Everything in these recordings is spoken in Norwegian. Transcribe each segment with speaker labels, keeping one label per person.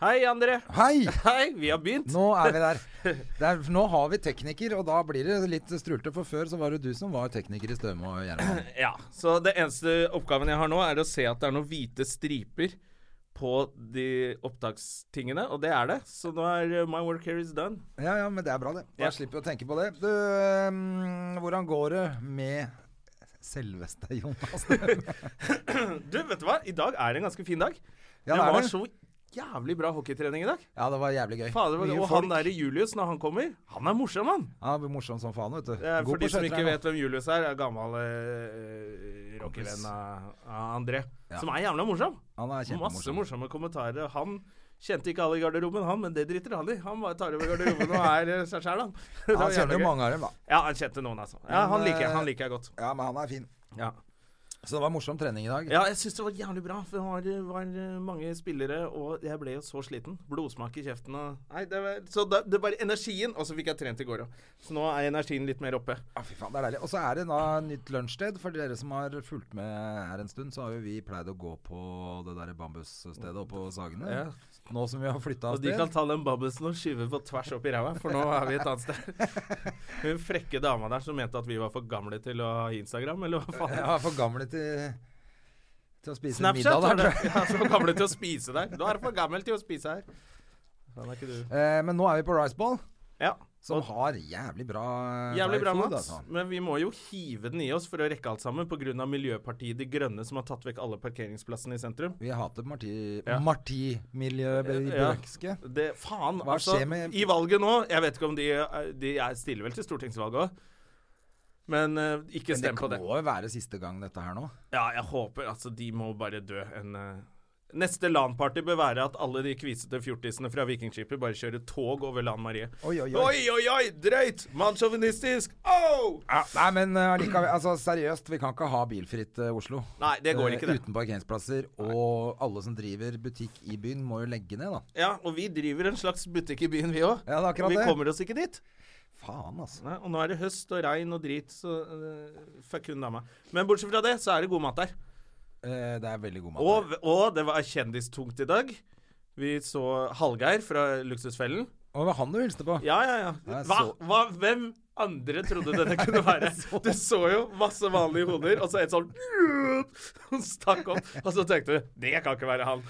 Speaker 1: Hei, André.
Speaker 2: Hei!
Speaker 1: Hei, vi har begynt.
Speaker 2: Nå er vi der. Det er, nå har vi tekniker, og da blir det litt strulete. For før så var det du som var tekniker i Støme og Gjerman.
Speaker 1: Ja, Så det eneste oppgaven jeg har nå, er å se at det er noen hvite striper på de opptakstingene, og det er det. Så nå er uh, my work here is done.
Speaker 2: Ja, ja, men det er bra, det. Da
Speaker 1: Ja.
Speaker 2: slipper vi å tenke på det. Du, øhm, hvordan går det med selveste Jonas?
Speaker 1: Du, vet du hva? I dag er en ganske fin dag. det,
Speaker 2: Ja, det er
Speaker 1: var
Speaker 2: det.
Speaker 1: så jævlig bra hockeytrening i dag.
Speaker 2: Ja, det var jævlig gøy.
Speaker 1: Fader,
Speaker 2: Mye
Speaker 1: og
Speaker 2: folk.
Speaker 1: han der i Julius, når han kommer, han er morsom, han.
Speaker 2: Ja, det blir morsom som faen, vet du.
Speaker 1: Det er
Speaker 2: God
Speaker 1: for de
Speaker 2: på
Speaker 1: som ikke
Speaker 2: skøyter,
Speaker 1: vet hvem Julius er, er gammel eh, rockevenn av av André. Som er jævla morsom.
Speaker 2: Han er
Speaker 1: Masse
Speaker 2: kjempemorsom.
Speaker 1: morsomme kommentarer. Han kjente ikke alle i garderoben, han, men det driter han i. Han bare tar over garderoben og er eh, seg sjæl, han. Det var
Speaker 2: Han
Speaker 1: jævla
Speaker 2: kjenner jo
Speaker 1: gøy.
Speaker 2: mange av dem, da.
Speaker 1: Ja, han kjente noen, altså. Ja, han liker jeg, han liker jeg godt.
Speaker 2: Ja, men han er fin.
Speaker 1: Ja,
Speaker 2: Så det var morsom trening i dag.
Speaker 1: ja jeg syns det var jævlig bra. For det var, var eh, mange spillere, og jeg ble jo så sliten. Blodsmak i kjeften og Nei, det var Så det, det var energien. Og så fikk jeg trent i går òg. Så nå er energien litt mer oppe.
Speaker 2: Ja, Ah, fy faen, det er deilig. Og så er det da nytt lunsjsted. For dere som har fulgt med her en stund, så har jo vi pleid å gå på det der bambusstedet oppe på Sagene.
Speaker 1: Ja.
Speaker 2: Nå som vi har flytta
Speaker 1: Og
Speaker 2: av
Speaker 1: de kan
Speaker 2: sted.
Speaker 1: ta den babbusen og skyve på tvers opp i ræva, for nå er vi et annet sted. Hun frekke dama der som mente at vi var for gamle til å ha Instagram, eller hva faen?
Speaker 2: Jeg var for gamle til, til å spise
Speaker 1: Snapchat,
Speaker 2: middag
Speaker 1: var
Speaker 2: der.
Speaker 1: det.
Speaker 2: tror jeg.
Speaker 1: Ja, for gamle til å spise der. Nå er du for gammel til å spise her. Faen, er ikke du
Speaker 2: Eh, men nå er vi på Riceball,
Speaker 1: Ja.
Speaker 2: som
Speaker 1: Og-
Speaker 2: har jævlig bra eh,
Speaker 1: Jævlig
Speaker 2: Thai
Speaker 1: bra,
Speaker 2: food,
Speaker 1: Mats. Men vi må jo hive den i oss for å rekke alt sammen pga. Miljøpartiet De Grønne, som har tatt vekk alle parkeringsplassene i sentrum.
Speaker 2: Vi hater Marti...
Speaker 1: Ja. Ja.
Speaker 2: Marti-miljøbøkske.
Speaker 1: Det, faen,
Speaker 2: Hva
Speaker 1: altså.
Speaker 2: skjer med-
Speaker 1: I valget nå Jeg vet ikke om de, er- de er stiller vel til stortingsvalget òg. Men eh, ikke
Speaker 2: Men det
Speaker 1: stem på
Speaker 2: må
Speaker 1: det.
Speaker 2: jo være siste gang dette her nå.
Speaker 1: Ja, jeg håper altså de må bare dø en eh, Neste LAN-party bør være at alle de kvisete fjortisene fra Vikingskipet bare kjører tog over Lan Marie.
Speaker 2: Oi, oi, oi.
Speaker 1: Oi, oi, oi! Drøyt! Mannssjåvinistisk! Oh!
Speaker 2: Ja, nei, men eh, allikevel, altså seriøst, vi kan ikke ha bilfritt eh, Oslo.
Speaker 1: Nei, det går
Speaker 2: Eh,
Speaker 1: ikke, det.
Speaker 2: Uten parkeringsplasser, og alle som driver butikk i byen må jo legge ned, da.
Speaker 1: Ja, og vi driver en slags butikk i byen, vi òg.
Speaker 2: Ja, det er akkurat
Speaker 1: og vi
Speaker 2: det.
Speaker 1: kommer oss ikke dit.
Speaker 2: Faen, altså.
Speaker 1: Nei, og nå er det høst og regn og drit, så eh, fuck hun dama. Men bortsett fra det, så er det god mat der.
Speaker 2: Eh, det er veldig god mat.
Speaker 1: Og, og det var kjendistungt i dag. Vi så Hallgeir fra Luksusfellen.
Speaker 2: Og det var han du hilste på.
Speaker 1: Ja, ja, ja.
Speaker 2: Jeg
Speaker 1: Hva,
Speaker 2: så-
Speaker 1: hva, hvem andre trodde dette kunne være? Du så jo masse vanlige hoder, og så en sånn som stakk opp. Og så tenkte du det kan ikke være han.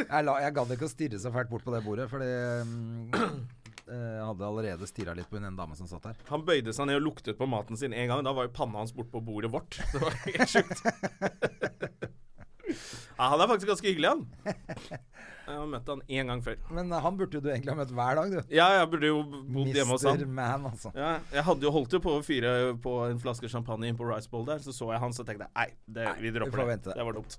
Speaker 2: Jeg, la, jeg gadd ikke å stirre så fælt bort på det bordet, fordi mm, eh, jeg hadde allerede stirra litt på hun ene dama som satt der.
Speaker 1: Han bøyde seg ned og luktet på maten sin en gang. Da var jo panna hans bortpå bordet vårt. Det var helt sjukt. Ja, han er faktisk ganske hyggelig, han. Jeg har møtt han én gang før.
Speaker 2: Men eh, han burde jo du egentlig ha møtt hver dag, du.
Speaker 1: Ja, jeg burde jo bodd hjemme hos han.
Speaker 2: Mr. Man, altså.
Speaker 1: Ja, jeg hadde jo holdt jo på å fyre på en flaske champagne inn på Rice Bowl der, så så jeg han, så tenkte jeg nei, det, vi
Speaker 2: vi får
Speaker 1: dropper
Speaker 2: vente
Speaker 1: det.
Speaker 2: det.
Speaker 1: Det var dumt.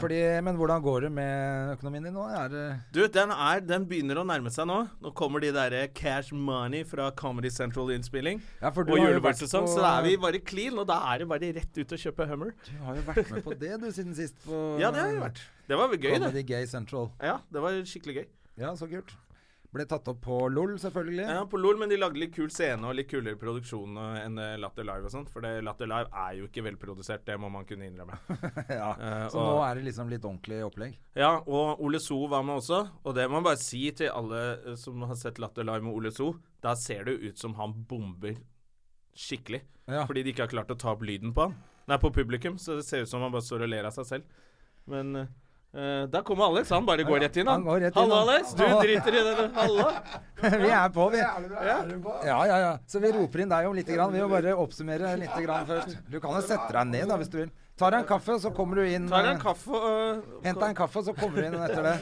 Speaker 2: Fordi, men hvordan går det med økonomien din nå? Er eh, det
Speaker 1: Du, den, er, den begynner å nærme seg nå. Nå kommer de derre cash money fra Comedy Central-innspilling.
Speaker 2: Ja, for du
Speaker 1: og
Speaker 2: har jo vært
Speaker 1: julebordsesong,
Speaker 2: på-
Speaker 1: så da er vi bare clean. Og da er det bare rett ut og kjøpe Hummer.
Speaker 2: Du har jo vært med på det, du, siden sist. På,
Speaker 1: Ja, det har vi vært. Det var vel gøy, det.
Speaker 2: Comedy Gay Central.
Speaker 1: Ja, det var skikkelig gøy.
Speaker 2: Ja, så kult. Ble tatt opp på LOL, selvfølgelig.
Speaker 1: Ja, på LOL, men de lagde litt kul scene og litt kulere produksjon eh, enn eh, Latter Live og sånn. For det, Latter Live er jo ikke velprodusert, det må man kunne innrømme.
Speaker 2: Ja,
Speaker 1: Eh,
Speaker 2: så
Speaker 1: og-
Speaker 2: nå er det liksom litt ordentlig opplegg.
Speaker 1: Ja, og Ole So var med også. Og det må jeg bare si til alle eh, som har sett Latter Live med Ole So. Da ser det jo ut som han bomber skikkelig.
Speaker 2: Ja.
Speaker 1: Fordi de ikke har klart å ta opp lyden på han. Nei, på publikum. Så det ser ut som han bare står og ler av seg selv. Men eh, der kommer Alex. Han bare går rett inn,
Speaker 2: Han går rett inn,
Speaker 1: Hallo,
Speaker 2: han.
Speaker 1: Alex. Du
Speaker 2: Hallo.
Speaker 1: driter i det. du. Hallo.
Speaker 2: vi er på, vi. Ja, ja, ja. Så vi roper inn deg om lite grann. Vi må bare oppsummere lite grann først. Du kan jo sette deg ned, da, hvis du vil. Tar deg en kaffe, så kommer du inn.
Speaker 1: Tar deg en
Speaker 2: eh,
Speaker 1: kaffe og
Speaker 2: Hent deg en kaffe, så kommer du inn etter det.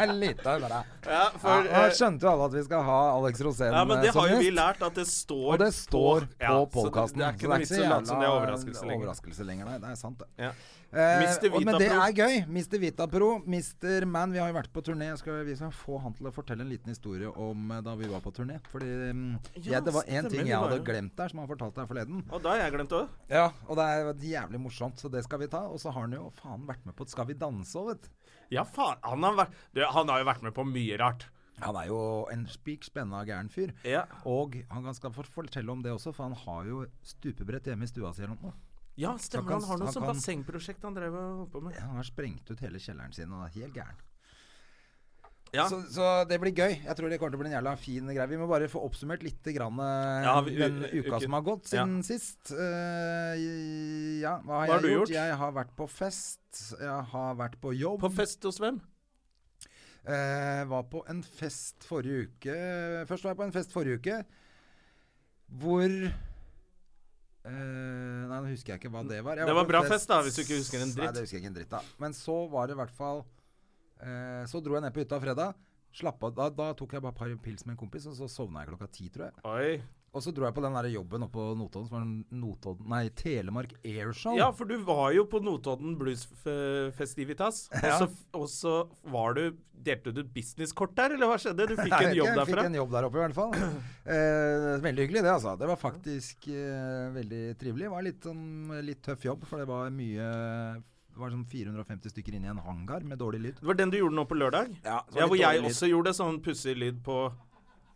Speaker 2: er lite
Speaker 1: Ja,
Speaker 2: bra. Ja,
Speaker 1: for,
Speaker 2: og
Speaker 1: eh,
Speaker 2: jeg skjønte jo alle at vi skal ha Alex Rosén
Speaker 1: ja, men det
Speaker 2: eh, som
Speaker 1: har jo vi
Speaker 2: gjest.
Speaker 1: lært, at det står
Speaker 2: Og det står på
Speaker 1: så det-
Speaker 2: podkasten.
Speaker 1: Det er ikke noe vits i å late som det er overraskelse lenger.
Speaker 2: overraskelse lenger. Nei, det er sant,
Speaker 1: Ja.
Speaker 2: det. Eh,
Speaker 1: Mr.
Speaker 2: og- men
Speaker 1: Vita
Speaker 2: det
Speaker 1: Pro.
Speaker 2: er gøy. Mr. Vita Pro, Mr. Man. Vi har jo vært på turné. Jeg Skal, vi skal få han til å fortelle en liten historie om eh, da vi var på turné. Fordi mm,
Speaker 1: Ja,
Speaker 2: jeg, det var én
Speaker 1: stemmer,
Speaker 2: ting
Speaker 1: vi
Speaker 2: jeg
Speaker 1: var
Speaker 2: hadde
Speaker 1: jo-
Speaker 2: glemt der, som han fortalte her forleden.
Speaker 1: Og da har jeg glemt det òg.
Speaker 2: Ja, Og det er jævlig morsomt, så det skal vi ta. Og så har han jo faen vært med på Skal vi danse òg, vet du.
Speaker 1: Ja, faen. Han har, vært, du, han har jo vært med på mye rart.
Speaker 2: Han er jo en spik spenna gæren fyr.
Speaker 1: Ja.
Speaker 2: Og han kan skal få fortelle om det også, for han har jo stupebrett hjemme i stua si eller noe.
Speaker 1: Ja, stemmer.
Speaker 2: Han kan-
Speaker 1: Han har noe
Speaker 2: han
Speaker 1: sånt
Speaker 2: kan-
Speaker 1: bassengprosjekt han drev og holdt på med.
Speaker 2: Han har sprengt ut hele kjelleren sin og er helt gæren.
Speaker 1: Ja.
Speaker 2: Så, så det blir gøy. Jeg tror det kommer til å bli en jævla fin greie. Vi må bare få oppsummert litt grann, eh,
Speaker 1: Ja, vi-
Speaker 2: den
Speaker 1: u-
Speaker 2: uka
Speaker 1: uken.
Speaker 2: som har gått siden sist. Eh, ja, hva har,
Speaker 1: Hva har
Speaker 2: jeg
Speaker 1: du gjort?
Speaker 2: Jeg har vært på fest. Jeg har vært på jobb.
Speaker 1: På fest hos hvem?
Speaker 2: Eh, var på en fest forrige uke Først var jeg på en fest forrige uke hvor eh, Nei, nå husker jeg ikke hva det var. Jeg
Speaker 1: Det var
Speaker 2: på en
Speaker 1: bra fest da, hvis du ikke husker en dritt.
Speaker 2: Nei, det husker jeg ikke en dritt av. Men så var det i hvert fall eh, Så dro jeg ned på hytta fredag. Slapp av, da, da tok jeg bare et par pils med en kompis, og så sovna jeg klokka ti, tror jeg.
Speaker 1: Oi.
Speaker 2: Og så dro jeg på den der jobben oppe på Notodden, som var en Notodden Nei, Telemark Airshow.
Speaker 1: Ja, for du var jo på Notodden Bluesfestivitas. Og, så, og så var du Delte du et businesskort der, eller hva skjedde? Du fikk
Speaker 2: Jeg
Speaker 1: en
Speaker 2: vet
Speaker 1: jobb
Speaker 2: ikke, Jeg
Speaker 1: derfra.
Speaker 2: fikk en jobb der oppe i hvert fall. Eh, veldig hyggelig det, altså. Det var faktisk eh, veldig trivelig. Det var litt, sånn, litt tøff jobb, for det var mye Det var sånn 450 stykker inne i en hangar med dårlig lyd.
Speaker 1: Det var den du gjorde nå på lørdag?
Speaker 2: Ja, så
Speaker 1: ja
Speaker 2: var litt
Speaker 1: hvor jeg
Speaker 2: dårlig lyd.
Speaker 1: også gjorde sånn pussig lyd på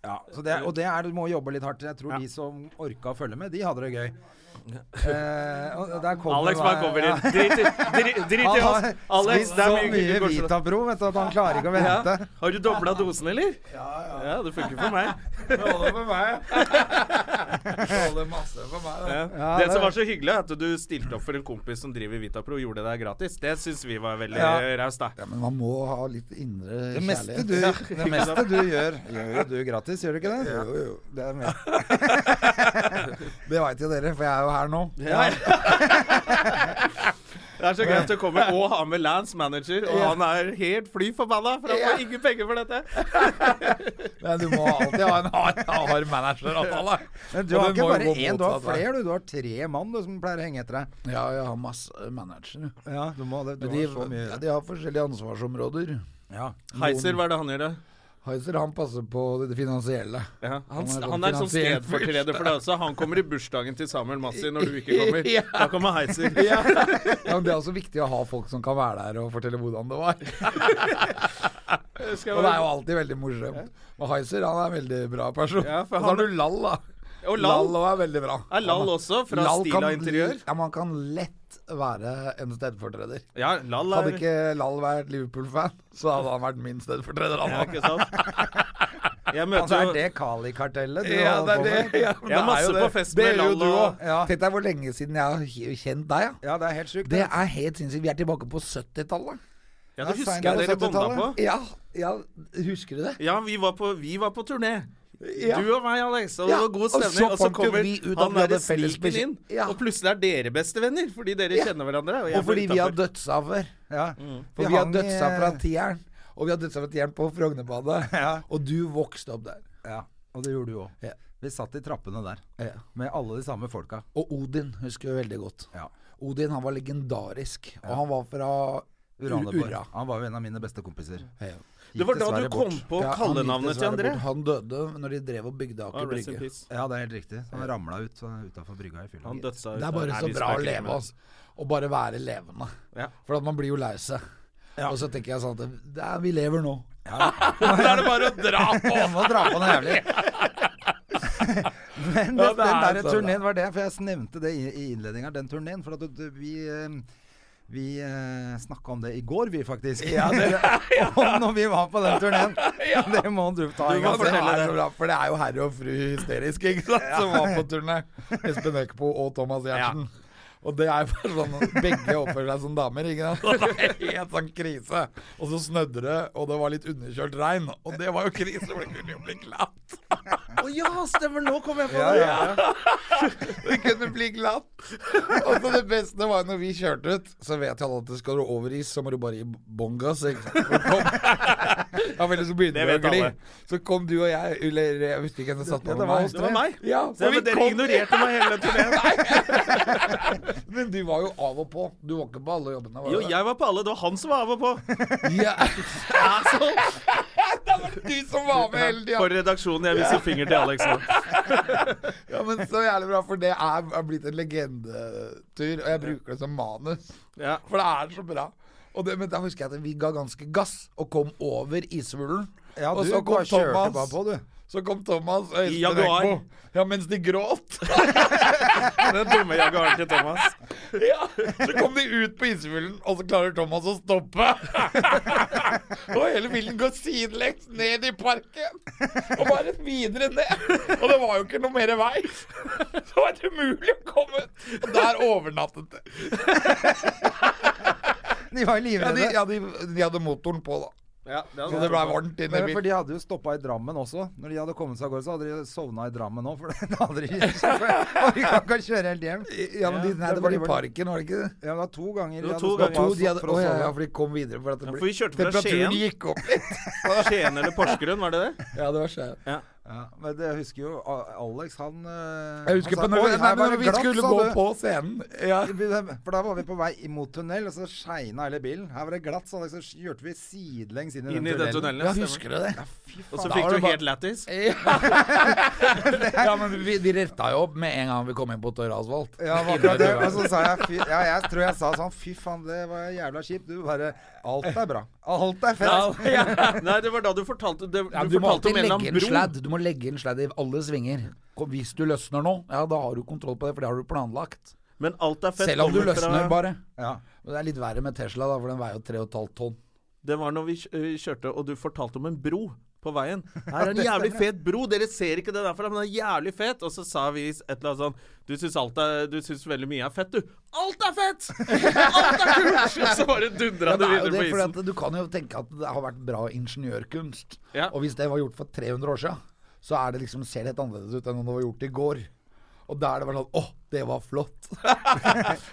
Speaker 2: Ja, så det, og det er, du må jobbe litt hardt. Jeg tror
Speaker 1: Ja.
Speaker 2: de som orka å følge med, de hadde det gøy. Eh, og der kommer-
Speaker 1: Alex bare kommer inn. Drit, i- drit, drit i
Speaker 2: Han
Speaker 1: oss.
Speaker 2: har
Speaker 1: Alex,
Speaker 2: spist
Speaker 1: det
Speaker 2: så
Speaker 1: er mye
Speaker 2: mye
Speaker 1: gull-
Speaker 2: Vitapro vet du, at han klarer ikke å vente.
Speaker 1: Ja. Har du dobla dosen, eller? Ja, ja. ja det funker for meg.
Speaker 2: Det holder for meg. Det holder masse for meg.
Speaker 1: Ja.
Speaker 2: Ja,
Speaker 1: det,
Speaker 2: det-
Speaker 1: som var så hyggelig, er at du stilte opp for en kompis som driver Vitapro og gjorde det der gratis. Det syns vi var veldig
Speaker 2: Ja.
Speaker 1: eh, raust, da.
Speaker 3: Ja, men man må ha litt indre
Speaker 2: Det meste,
Speaker 3: kjærlighet.
Speaker 2: du, det meste du gjør, gjør jo du gratis, gjør du ikke det?
Speaker 3: Jo, jo.
Speaker 2: Det er mest.
Speaker 3: Det veit jo dere, for jeg er jo her nå.
Speaker 1: Det er så greit å komme og ha med Lance manager, og han er helt fly forbanna, for han får ingen penger for dette.
Speaker 3: Men du må alltid ha en hard, hard manageravtale.
Speaker 2: Men du
Speaker 3: Og
Speaker 2: har
Speaker 3: det
Speaker 2: ikke
Speaker 3: må jo
Speaker 2: bare
Speaker 3: gå
Speaker 2: én, du har
Speaker 3: motsatt vei.
Speaker 2: flere. Du, du har tre mann du, som pleier å henge etter deg.
Speaker 3: Ja, jeg har masse managere.
Speaker 2: Ja, du må det. Du
Speaker 3: Men
Speaker 2: har så
Speaker 3: de, ja,
Speaker 2: mye.
Speaker 3: de har forskjellige ansvarsområder.
Speaker 2: Ja.
Speaker 1: Heiser, hva er det han gjør, da?
Speaker 3: Heiser han passer på det finansielle.
Speaker 1: Ja. Han,
Speaker 3: Han er sånn
Speaker 1: han er sånn
Speaker 3: finansiell
Speaker 1: stedfortreder for deg også. Han kommer i bursdagen til Samuel Massi når du ikke kommer. Da kommer Heiser.
Speaker 3: Ja, men det er også viktig å ha folk som kan være der og fortelle hvordan det var.
Speaker 1: Skal
Speaker 3: Og det er
Speaker 1: jeg-
Speaker 3: jo alltid veldig morsomt. Og Heiser han er en veldig bra person.
Speaker 1: Ja, for
Speaker 3: og så har
Speaker 1: han-
Speaker 3: du Lall, da.
Speaker 1: Og Lall.
Speaker 3: Lall er veldig bra.
Speaker 1: Er Lall også fra
Speaker 3: Lall
Speaker 1: Stila
Speaker 3: kan-
Speaker 1: Interiør?
Speaker 3: Ja, man kan lett være en stedfortreder.
Speaker 1: Ja, Lall er
Speaker 3: Hadde ikke Lall vært Liverpool-fan, så hadde han vært min stedfortreder. Han
Speaker 1: ja,
Speaker 3: også.
Speaker 1: ikke sant? Jeg
Speaker 2: Altså,
Speaker 1: møter
Speaker 2: er
Speaker 1: jo
Speaker 2: det Kali-kartellet du
Speaker 3: Ja, det
Speaker 2: holder på
Speaker 3: er
Speaker 2: med?
Speaker 3: det. Ja,
Speaker 1: Jeg har
Speaker 3: men det er
Speaker 1: masse
Speaker 3: jo
Speaker 1: på
Speaker 3: det.
Speaker 1: fest
Speaker 3: Det
Speaker 1: med
Speaker 3: er jo
Speaker 1: Lall
Speaker 3: du
Speaker 1: og-
Speaker 3: også.
Speaker 2: Ja.
Speaker 3: Tenk deg hvor lenge siden jeg har k- kjent deg. Ja.
Speaker 2: Ja, det er helt sjukt.
Speaker 3: Det er helt sinnssykt. Vi er tilbake på 70-tallet.
Speaker 1: Ja, det
Speaker 2: Ja,
Speaker 1: husker
Speaker 2: Steinar
Speaker 1: jeg dere
Speaker 2: på
Speaker 1: bonda
Speaker 2: 70-tallet.
Speaker 1: på.
Speaker 3: Ja, ja, husker du det?
Speaker 1: Ja, vi var på, vi var på turné.
Speaker 3: Ja.
Speaker 1: Du og meg, Alex. Og
Speaker 3: Ja,
Speaker 1: det var god
Speaker 3: og
Speaker 1: stemning. Og så,
Speaker 3: så fant jo
Speaker 1: kommer
Speaker 3: vi ut at
Speaker 1: han
Speaker 3: vi hadde
Speaker 1: derre
Speaker 3: felles
Speaker 1: sniken inn,
Speaker 3: bekjent- Ja.
Speaker 1: og plutselig er dere bestevenner fordi dere kjenner hverandre. Og, jeg
Speaker 3: Og fordi
Speaker 1: ble
Speaker 3: vi har
Speaker 1: utenfor.
Speaker 3: dødsa før.
Speaker 2: Ja.
Speaker 3: For vi har
Speaker 2: hang i-
Speaker 3: dødsa fra tieren. Og vi har dødsa fra tieren på Frognerbadet.
Speaker 2: Ja.
Speaker 3: Og du vokste opp der.
Speaker 2: Ja, og det gjorde du òg.
Speaker 3: Ja.
Speaker 2: Vi satt i trappene der
Speaker 3: Ja.
Speaker 2: med alle de samme folka.
Speaker 3: Og Odin husker jeg veldig godt.
Speaker 2: Ja.
Speaker 3: Odin han var legendarisk. Og han var fra
Speaker 2: Uraneborg.
Speaker 3: Ura.
Speaker 2: Han var jo en av mine beste kompiser.
Speaker 3: Ja.
Speaker 1: Det var da
Speaker 2: dessverre
Speaker 1: du kom på
Speaker 3: Ja, han gikk
Speaker 1: kallenavnet til
Speaker 3: dessverre
Speaker 1: André.
Speaker 3: bort. Han døde når de drev og bygde
Speaker 1: Ah,
Speaker 3: Aker
Speaker 1: rest in
Speaker 3: Brygge.
Speaker 1: peace.
Speaker 2: Ja, det er helt riktig. Han ramla ut utafor brygga i fylla.
Speaker 1: Han dødsa
Speaker 3: Det er bare så bra å leve, altså. Å bare være levende.
Speaker 1: Ja.
Speaker 3: For at man blir jo lei seg. Og så tenker jeg sånn at det er, vi lever nå.
Speaker 1: Da er det bare å dra på!
Speaker 2: Jeg må dra på noe jævlig. Men det,
Speaker 3: Ja, det er
Speaker 2: den
Speaker 3: så
Speaker 2: der
Speaker 3: bra.
Speaker 2: turneen var det, for jeg nevnte det i, i innledninga, den turneen. For at du- du- vi, eh, vi snakka om det i går, vi faktisk. og når vi var på den turneen. Det må du ta en gang.
Speaker 3: For det,
Speaker 2: til.
Speaker 3: er så bra, for det er jo herre og fru hysterisk, ikke sant, som var på turné. Espen Eckbo og Thomas Giertsen. Og det er bare sånn Begge oppfører seg som damer, ikke sant. Det er helt sånn krise. Og så snødde det, og det var litt underkjølt regn. Og det var jo krise, for det kunne jo bli glatt.
Speaker 1: Å ja, stemmer, nå kom jeg på
Speaker 2: Ja,
Speaker 1: det!
Speaker 2: ja, ja.
Speaker 3: Det kunne bli glatt. Og så det beste var når vi kjørte ut, så vet jo alle at det skal du over is, så må du bare gi bånn gass. ikke sant? For kom- Ja, vel, så begynner
Speaker 1: Det
Speaker 3: vi å
Speaker 1: vet
Speaker 3: gli.
Speaker 1: alle.
Speaker 3: Så kom du og jeg, eller jeg husker ikke hvem som satt
Speaker 2: Ja,
Speaker 3: på
Speaker 2: det var
Speaker 3: meg.
Speaker 2: oss
Speaker 1: Det var meg.
Speaker 3: Ja,
Speaker 1: Se,
Speaker 3: for vi
Speaker 1: men dere
Speaker 3: kom-
Speaker 1: ignorerte meg hele turneen.
Speaker 3: Men du var jo av og på. Du var ikke på alle jobbene. Var
Speaker 1: Jo,
Speaker 3: du det?
Speaker 1: jeg var på alle. Det var han som var av og på.
Speaker 3: Ja. det var du som var med hele tida!
Speaker 1: For redaksjonen. Jeg vil si finger til Alex nå.
Speaker 3: Ja, men så jævlig bra, for det er, er blitt en legendetur, og jeg bruker det som manus.
Speaker 1: Ja.
Speaker 3: For det er så bra. Og det, men da husker jeg at vi ga ganske gass, og kom over isvulen.
Speaker 2: Ja,
Speaker 3: og
Speaker 2: du
Speaker 3: så kom
Speaker 2: bare kjørte
Speaker 3: Thomas-
Speaker 2: bare på, du.
Speaker 3: Så kom Thomas og
Speaker 1: I
Speaker 3: Øystein
Speaker 1: Jaguar.
Speaker 3: Ekmo. Ja, mens de gråt.
Speaker 1: Den dumme jaguaren til Thomas.
Speaker 3: Ja, så kom de ut på isfuglen, og så klarer Thomas å stoppe. Og hele bilen går sidelengs ned i parken, og bare videre ned. Og det var jo ikke noe mer vei. Så var det umulig å komme ut. Og der overnattet det.
Speaker 2: De var jo
Speaker 3: Ja, de,
Speaker 2: livredde.
Speaker 3: ja, de, de hadde motoren på, da.
Speaker 1: Ja,
Speaker 3: Så det ble varmt inne
Speaker 2: Men
Speaker 3: i
Speaker 2: for
Speaker 3: bilen.
Speaker 2: de hadde jo stoppa i Drammen også. Når de hadde kommet seg av gårde, så hadde de sovna i Drammen òg. For da hadde de orka ikke å kjøre helt hjem.
Speaker 3: Ja, men de, nei, det var i
Speaker 2: Ja.
Speaker 3: parken, var det ikke det?
Speaker 2: Ja, det var to ganger
Speaker 1: Det
Speaker 2: de
Speaker 1: var
Speaker 2: hadde
Speaker 1: to
Speaker 2: stoppa
Speaker 1: ganger.
Speaker 2: oss
Speaker 3: de hadde,
Speaker 2: for å
Speaker 3: å, ja, ja,
Speaker 2: sove.
Speaker 3: for de kom videre. For at det
Speaker 1: Ja,
Speaker 3: ble,
Speaker 1: for vi kjørte fra Skien.
Speaker 3: temperaturen gikk opp litt.
Speaker 1: Skien eller Porsgrunn, var det det?
Speaker 3: Ja, det var skjevt.
Speaker 2: Ja, men det- jeg husker jo A- Alex, han eh,
Speaker 3: Jeg husker
Speaker 2: han sa,
Speaker 3: på når,
Speaker 2: «Oi,
Speaker 3: nei,
Speaker 2: her
Speaker 3: men
Speaker 2: var
Speaker 3: når
Speaker 2: det
Speaker 3: vi
Speaker 2: glatt»,
Speaker 3: skulle
Speaker 2: sa
Speaker 3: gå
Speaker 2: du.
Speaker 3: på scenen ja.
Speaker 2: For da var vi på vei imot tunnel, og så shina hele bilen. Her var det glatt, så Alex, så kjørte vi sidelengs inn i
Speaker 1: Inn i den tunnelen.
Speaker 3: ja,
Speaker 1: stemmer.
Speaker 3: husker du det?
Speaker 1: Og så
Speaker 3: Da
Speaker 1: fikk
Speaker 3: var det
Speaker 1: du
Speaker 3: bare-
Speaker 1: helt lættis.
Speaker 3: ja, men vi, de retta jo opp med en gang vi kom inn på tørr asfalt.
Speaker 2: Ja, det var akkurat det. Og så sa jeg fy, Ja, jeg tror jeg sa sånn Fy faen, det var jævla kjipt. Du bare Alt er bra. Alt er fett.
Speaker 1: Nei, det var da du fortalte det, Du
Speaker 3: Ja, men du må
Speaker 1: fortalte
Speaker 3: alltid
Speaker 1: om en eller
Speaker 3: legge
Speaker 1: annen
Speaker 3: en
Speaker 1: bro.
Speaker 3: sladd. Du må legge en sladd i alle svinger. Kom, Hvis du løsner nå, ja, da har du kontroll på det, for det har du planlagt.
Speaker 1: Men alt er fett.
Speaker 3: Selv om du
Speaker 1: kommer fra-
Speaker 3: løsner, bare.
Speaker 2: Ja.
Speaker 3: Men Det er litt verre med Tesla, da, for den veier jo 3,5 tonn.
Speaker 1: Det var når vi kj- øh, kjørte, og du fortalte om en bro på veien. Her er en jævlig fet bro, dere ser ikke det derfra, men den er jævlig fet. Og så sa vi et eller annet sånn Du syns alt er Du syns veldig mye er fett, du. Alt er fett! Alt er kult! Og så bare dundra
Speaker 3: Ja,
Speaker 1: du
Speaker 3: det er jo
Speaker 1: videre på
Speaker 3: det, for
Speaker 1: isen.
Speaker 3: at du kan jo tenke at det har vært bra ingeniørkunst.
Speaker 1: Ja.
Speaker 3: Og hvis det var gjort for 300 år siden, så er det liksom, ser det helt annerledes ut enn om det var gjort i går. Og da er det bare sånn Å, det var flott!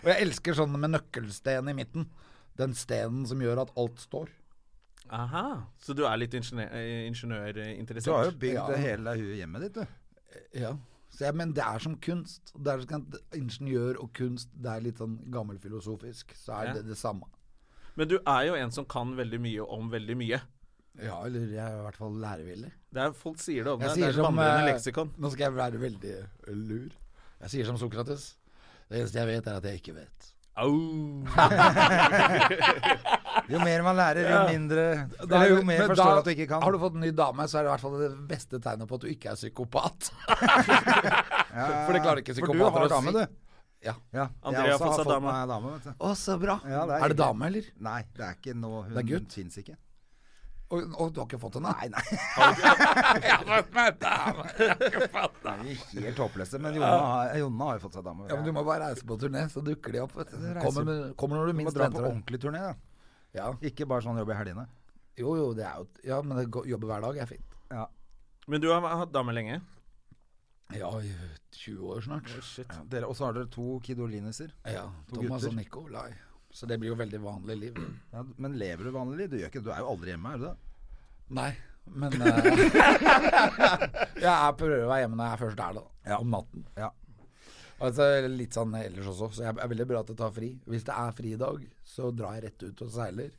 Speaker 3: og jeg elsker sånn med nøkkelsten i midten. Den stenen som gjør at alt står.
Speaker 1: Aha. Så du er litt ingeniør- eh, ingeniørinteressert?
Speaker 2: Du har jo bygd
Speaker 3: Ja.
Speaker 2: det hele hu- hjemmet ditt, du.
Speaker 3: Ja. Så jeg, men det er som kunst. Det er, sånn at ingeniør og kunst, det er litt sånn gammelfilosofisk. Så er
Speaker 1: Ja.
Speaker 3: det det samme.
Speaker 1: Men du er jo en som kan veldig mye om veldig mye.
Speaker 3: Ja, eller jeg er i hvert fall lærevillig.
Speaker 1: Det er, folk sier det om
Speaker 3: Jeg
Speaker 1: deg. Det
Speaker 3: sier
Speaker 1: er et
Speaker 3: som
Speaker 1: vandrende
Speaker 3: eh,
Speaker 1: leksikon.
Speaker 3: Nå skal jeg være veldig eh, lur. Jeg sier som Sokrates. Det eneste jeg vet, er at jeg ikke vet.
Speaker 1: Au.
Speaker 2: Jo mer man lærer, jo mindre
Speaker 3: er
Speaker 2: Eller jo mer
Speaker 3: men
Speaker 2: forstår at du ikke kan.
Speaker 3: Har du fått en ny dame, så er det i hvert fall det beste tegnet på at du ikke er psykopat. for det klarer ikke
Speaker 2: For du har
Speaker 3: psykopater å
Speaker 2: dame,
Speaker 3: si.
Speaker 2: du.
Speaker 3: Ja.
Speaker 2: Ja.
Speaker 1: Andrea
Speaker 2: jeg også
Speaker 1: har
Speaker 2: har
Speaker 1: fått
Speaker 2: fått
Speaker 1: dame.
Speaker 2: meg dame, vet du.
Speaker 3: Å, så bra.
Speaker 2: Ja, det
Speaker 3: er,
Speaker 2: er
Speaker 3: det
Speaker 2: hyggelig.
Speaker 3: dame, eller?
Speaker 2: Nei, det er ikke noe Hun
Speaker 3: Det er gutt.
Speaker 2: fins ikke.
Speaker 3: Og, og du har ikke fått henne? Nei, nei.
Speaker 2: Vi er helt håpløse. Men Jonna har, Jonna har jo fått seg dame.
Speaker 3: Ja, men Du må bare reise på turné, så dukker de opp. vet du.
Speaker 2: reiser.
Speaker 3: Kommer, med- kommer når du
Speaker 2: Du må
Speaker 3: minst
Speaker 2: dra på
Speaker 3: venter det.
Speaker 2: ordentlig turné, da.
Speaker 3: Ja.
Speaker 2: Ikke bare sånn jobb i helgene.
Speaker 3: Jo, jo, det er jo Ja, men det går- jobber hver dag er fint.
Speaker 2: Ja.
Speaker 1: Men du har hatt dame lenge?
Speaker 3: Ja, i 20 år snart.
Speaker 1: Shit.
Speaker 2: Dere- Og så har dere to kidolineser.
Speaker 3: Ja,
Speaker 2: To
Speaker 3: Thomas
Speaker 2: gutter.
Speaker 3: og Nicolai. Så det blir jo veldig vanlig liv.
Speaker 2: Ja, men lever du vanlig liv? Du, gjør ikke, det. du er jo aldri hjemme, er du det?
Speaker 3: Nei, men eh, Jeg prøver å være hjemme når jeg først er det, da. Om natten.
Speaker 2: Ja.
Speaker 3: Altså, litt sånn ellers også, så jeg er veldig bra til å ta fri. Hvis det er fri i dag, så drar jeg rett ut og seiler.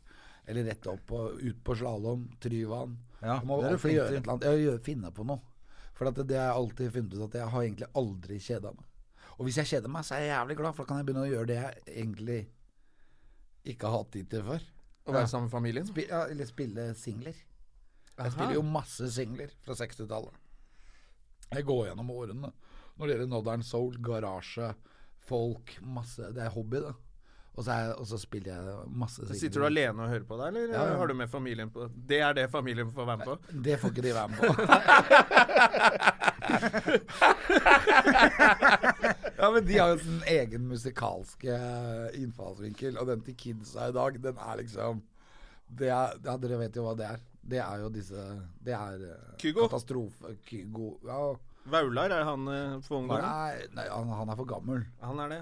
Speaker 3: Eller rett opp på, ut på slalåm, Tryvann.
Speaker 2: Ja,
Speaker 3: jeg må
Speaker 2: det er du
Speaker 3: alltid
Speaker 2: flink
Speaker 3: gjøre
Speaker 2: til.
Speaker 3: et eller annet. Jeg gjør, finne på noe. For at det, det har jeg alltid funnet ut at jeg har egentlig aldri kjeda meg. Og hvis jeg kjeder meg, så er jeg jævlig glad, for da kan jeg begynne å gjøre det jeg egentlig ikke har hatt tid til før.
Speaker 1: Å være sammen med familien?
Speaker 3: Spi- ja, eller spille singler. Jeg spiller jo masse singler fra 60-tallet. Jeg går gjennom årene når det gjelder Northern Soul, garasje, folk, masse Det er hobby, det. Og så, er, jeg- og så spiller jeg masse singler.
Speaker 1: Sitter du alene og hører på det, eller
Speaker 3: Ja, ja.
Speaker 1: har du med familien på Det er det familien får være med på?
Speaker 3: Det får ikke de være med på. ja, men de har jo sin egen musikalske eh, innfallsvinkel, og den til kidsa i dag, den er liksom det er, ja, Dere vet jo hva det er. Det er jo disse Det er eh,
Speaker 1: Kygo?
Speaker 3: katastrofe... Kygo Ja.
Speaker 1: Vaular, er han eh, for ung gammel?
Speaker 3: Nei, nei han, han er for gammel.
Speaker 1: Han er det.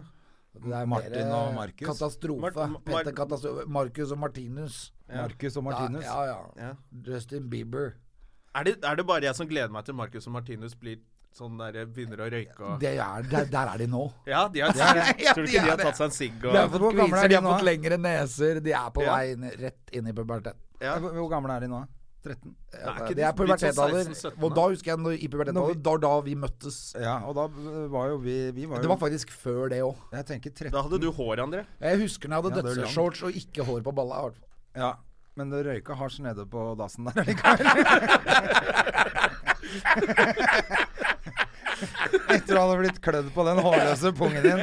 Speaker 3: Det er
Speaker 2: Martin
Speaker 3: mer, eh,
Speaker 2: og Markus.
Speaker 3: Katastrofe.
Speaker 1: Mar- Mar-
Speaker 3: Petter Katastrofe. Markus og Martinus.
Speaker 2: Marcus og Martinus.
Speaker 3: Ja, ja,
Speaker 1: Ja.
Speaker 3: Justin Bieber.
Speaker 1: Er det, er det bare jeg som gleder meg til Marcus og Martinus blir sånn der begynner å røyke og
Speaker 3: Det er, der, der er de nå.
Speaker 1: Ja, de har,
Speaker 3: ja,
Speaker 1: tror du
Speaker 3: de
Speaker 1: ikke de
Speaker 3: er
Speaker 1: har
Speaker 3: det.
Speaker 1: tatt seg en sigg
Speaker 3: De har
Speaker 1: og
Speaker 3: fått
Speaker 2: Hvor gamle er
Speaker 3: kviser,
Speaker 2: de
Speaker 3: de har
Speaker 2: nå,
Speaker 3: fått lengre neser, de er på
Speaker 1: Ja.
Speaker 3: vei inn- rett inn i pubertet.
Speaker 1: ja.
Speaker 2: Hvor hvor gamle er de nå? 13?
Speaker 1: Nei, ikke de-
Speaker 3: Det er
Speaker 1: de som
Speaker 3: pubertetalder.
Speaker 1: 16-17,
Speaker 3: Og sånn da husker jeg når, i pubertetalder, da, da vi møttes.
Speaker 2: Ja, og da øh, var jo vi, vi var jo,
Speaker 3: Det var faktisk før det òg.
Speaker 2: Jeg tenker 13
Speaker 1: Da hadde du hår, André.
Speaker 3: Jeg husker når jeg
Speaker 2: Ja,
Speaker 3: hadde
Speaker 2: det er langt.
Speaker 3: dødsshorts og ikke hår på balla. i hvert fall.
Speaker 2: Ja, men det røyka hasj nede på dassen der. Etter å ha blitt klødd på den hårløse pungen din.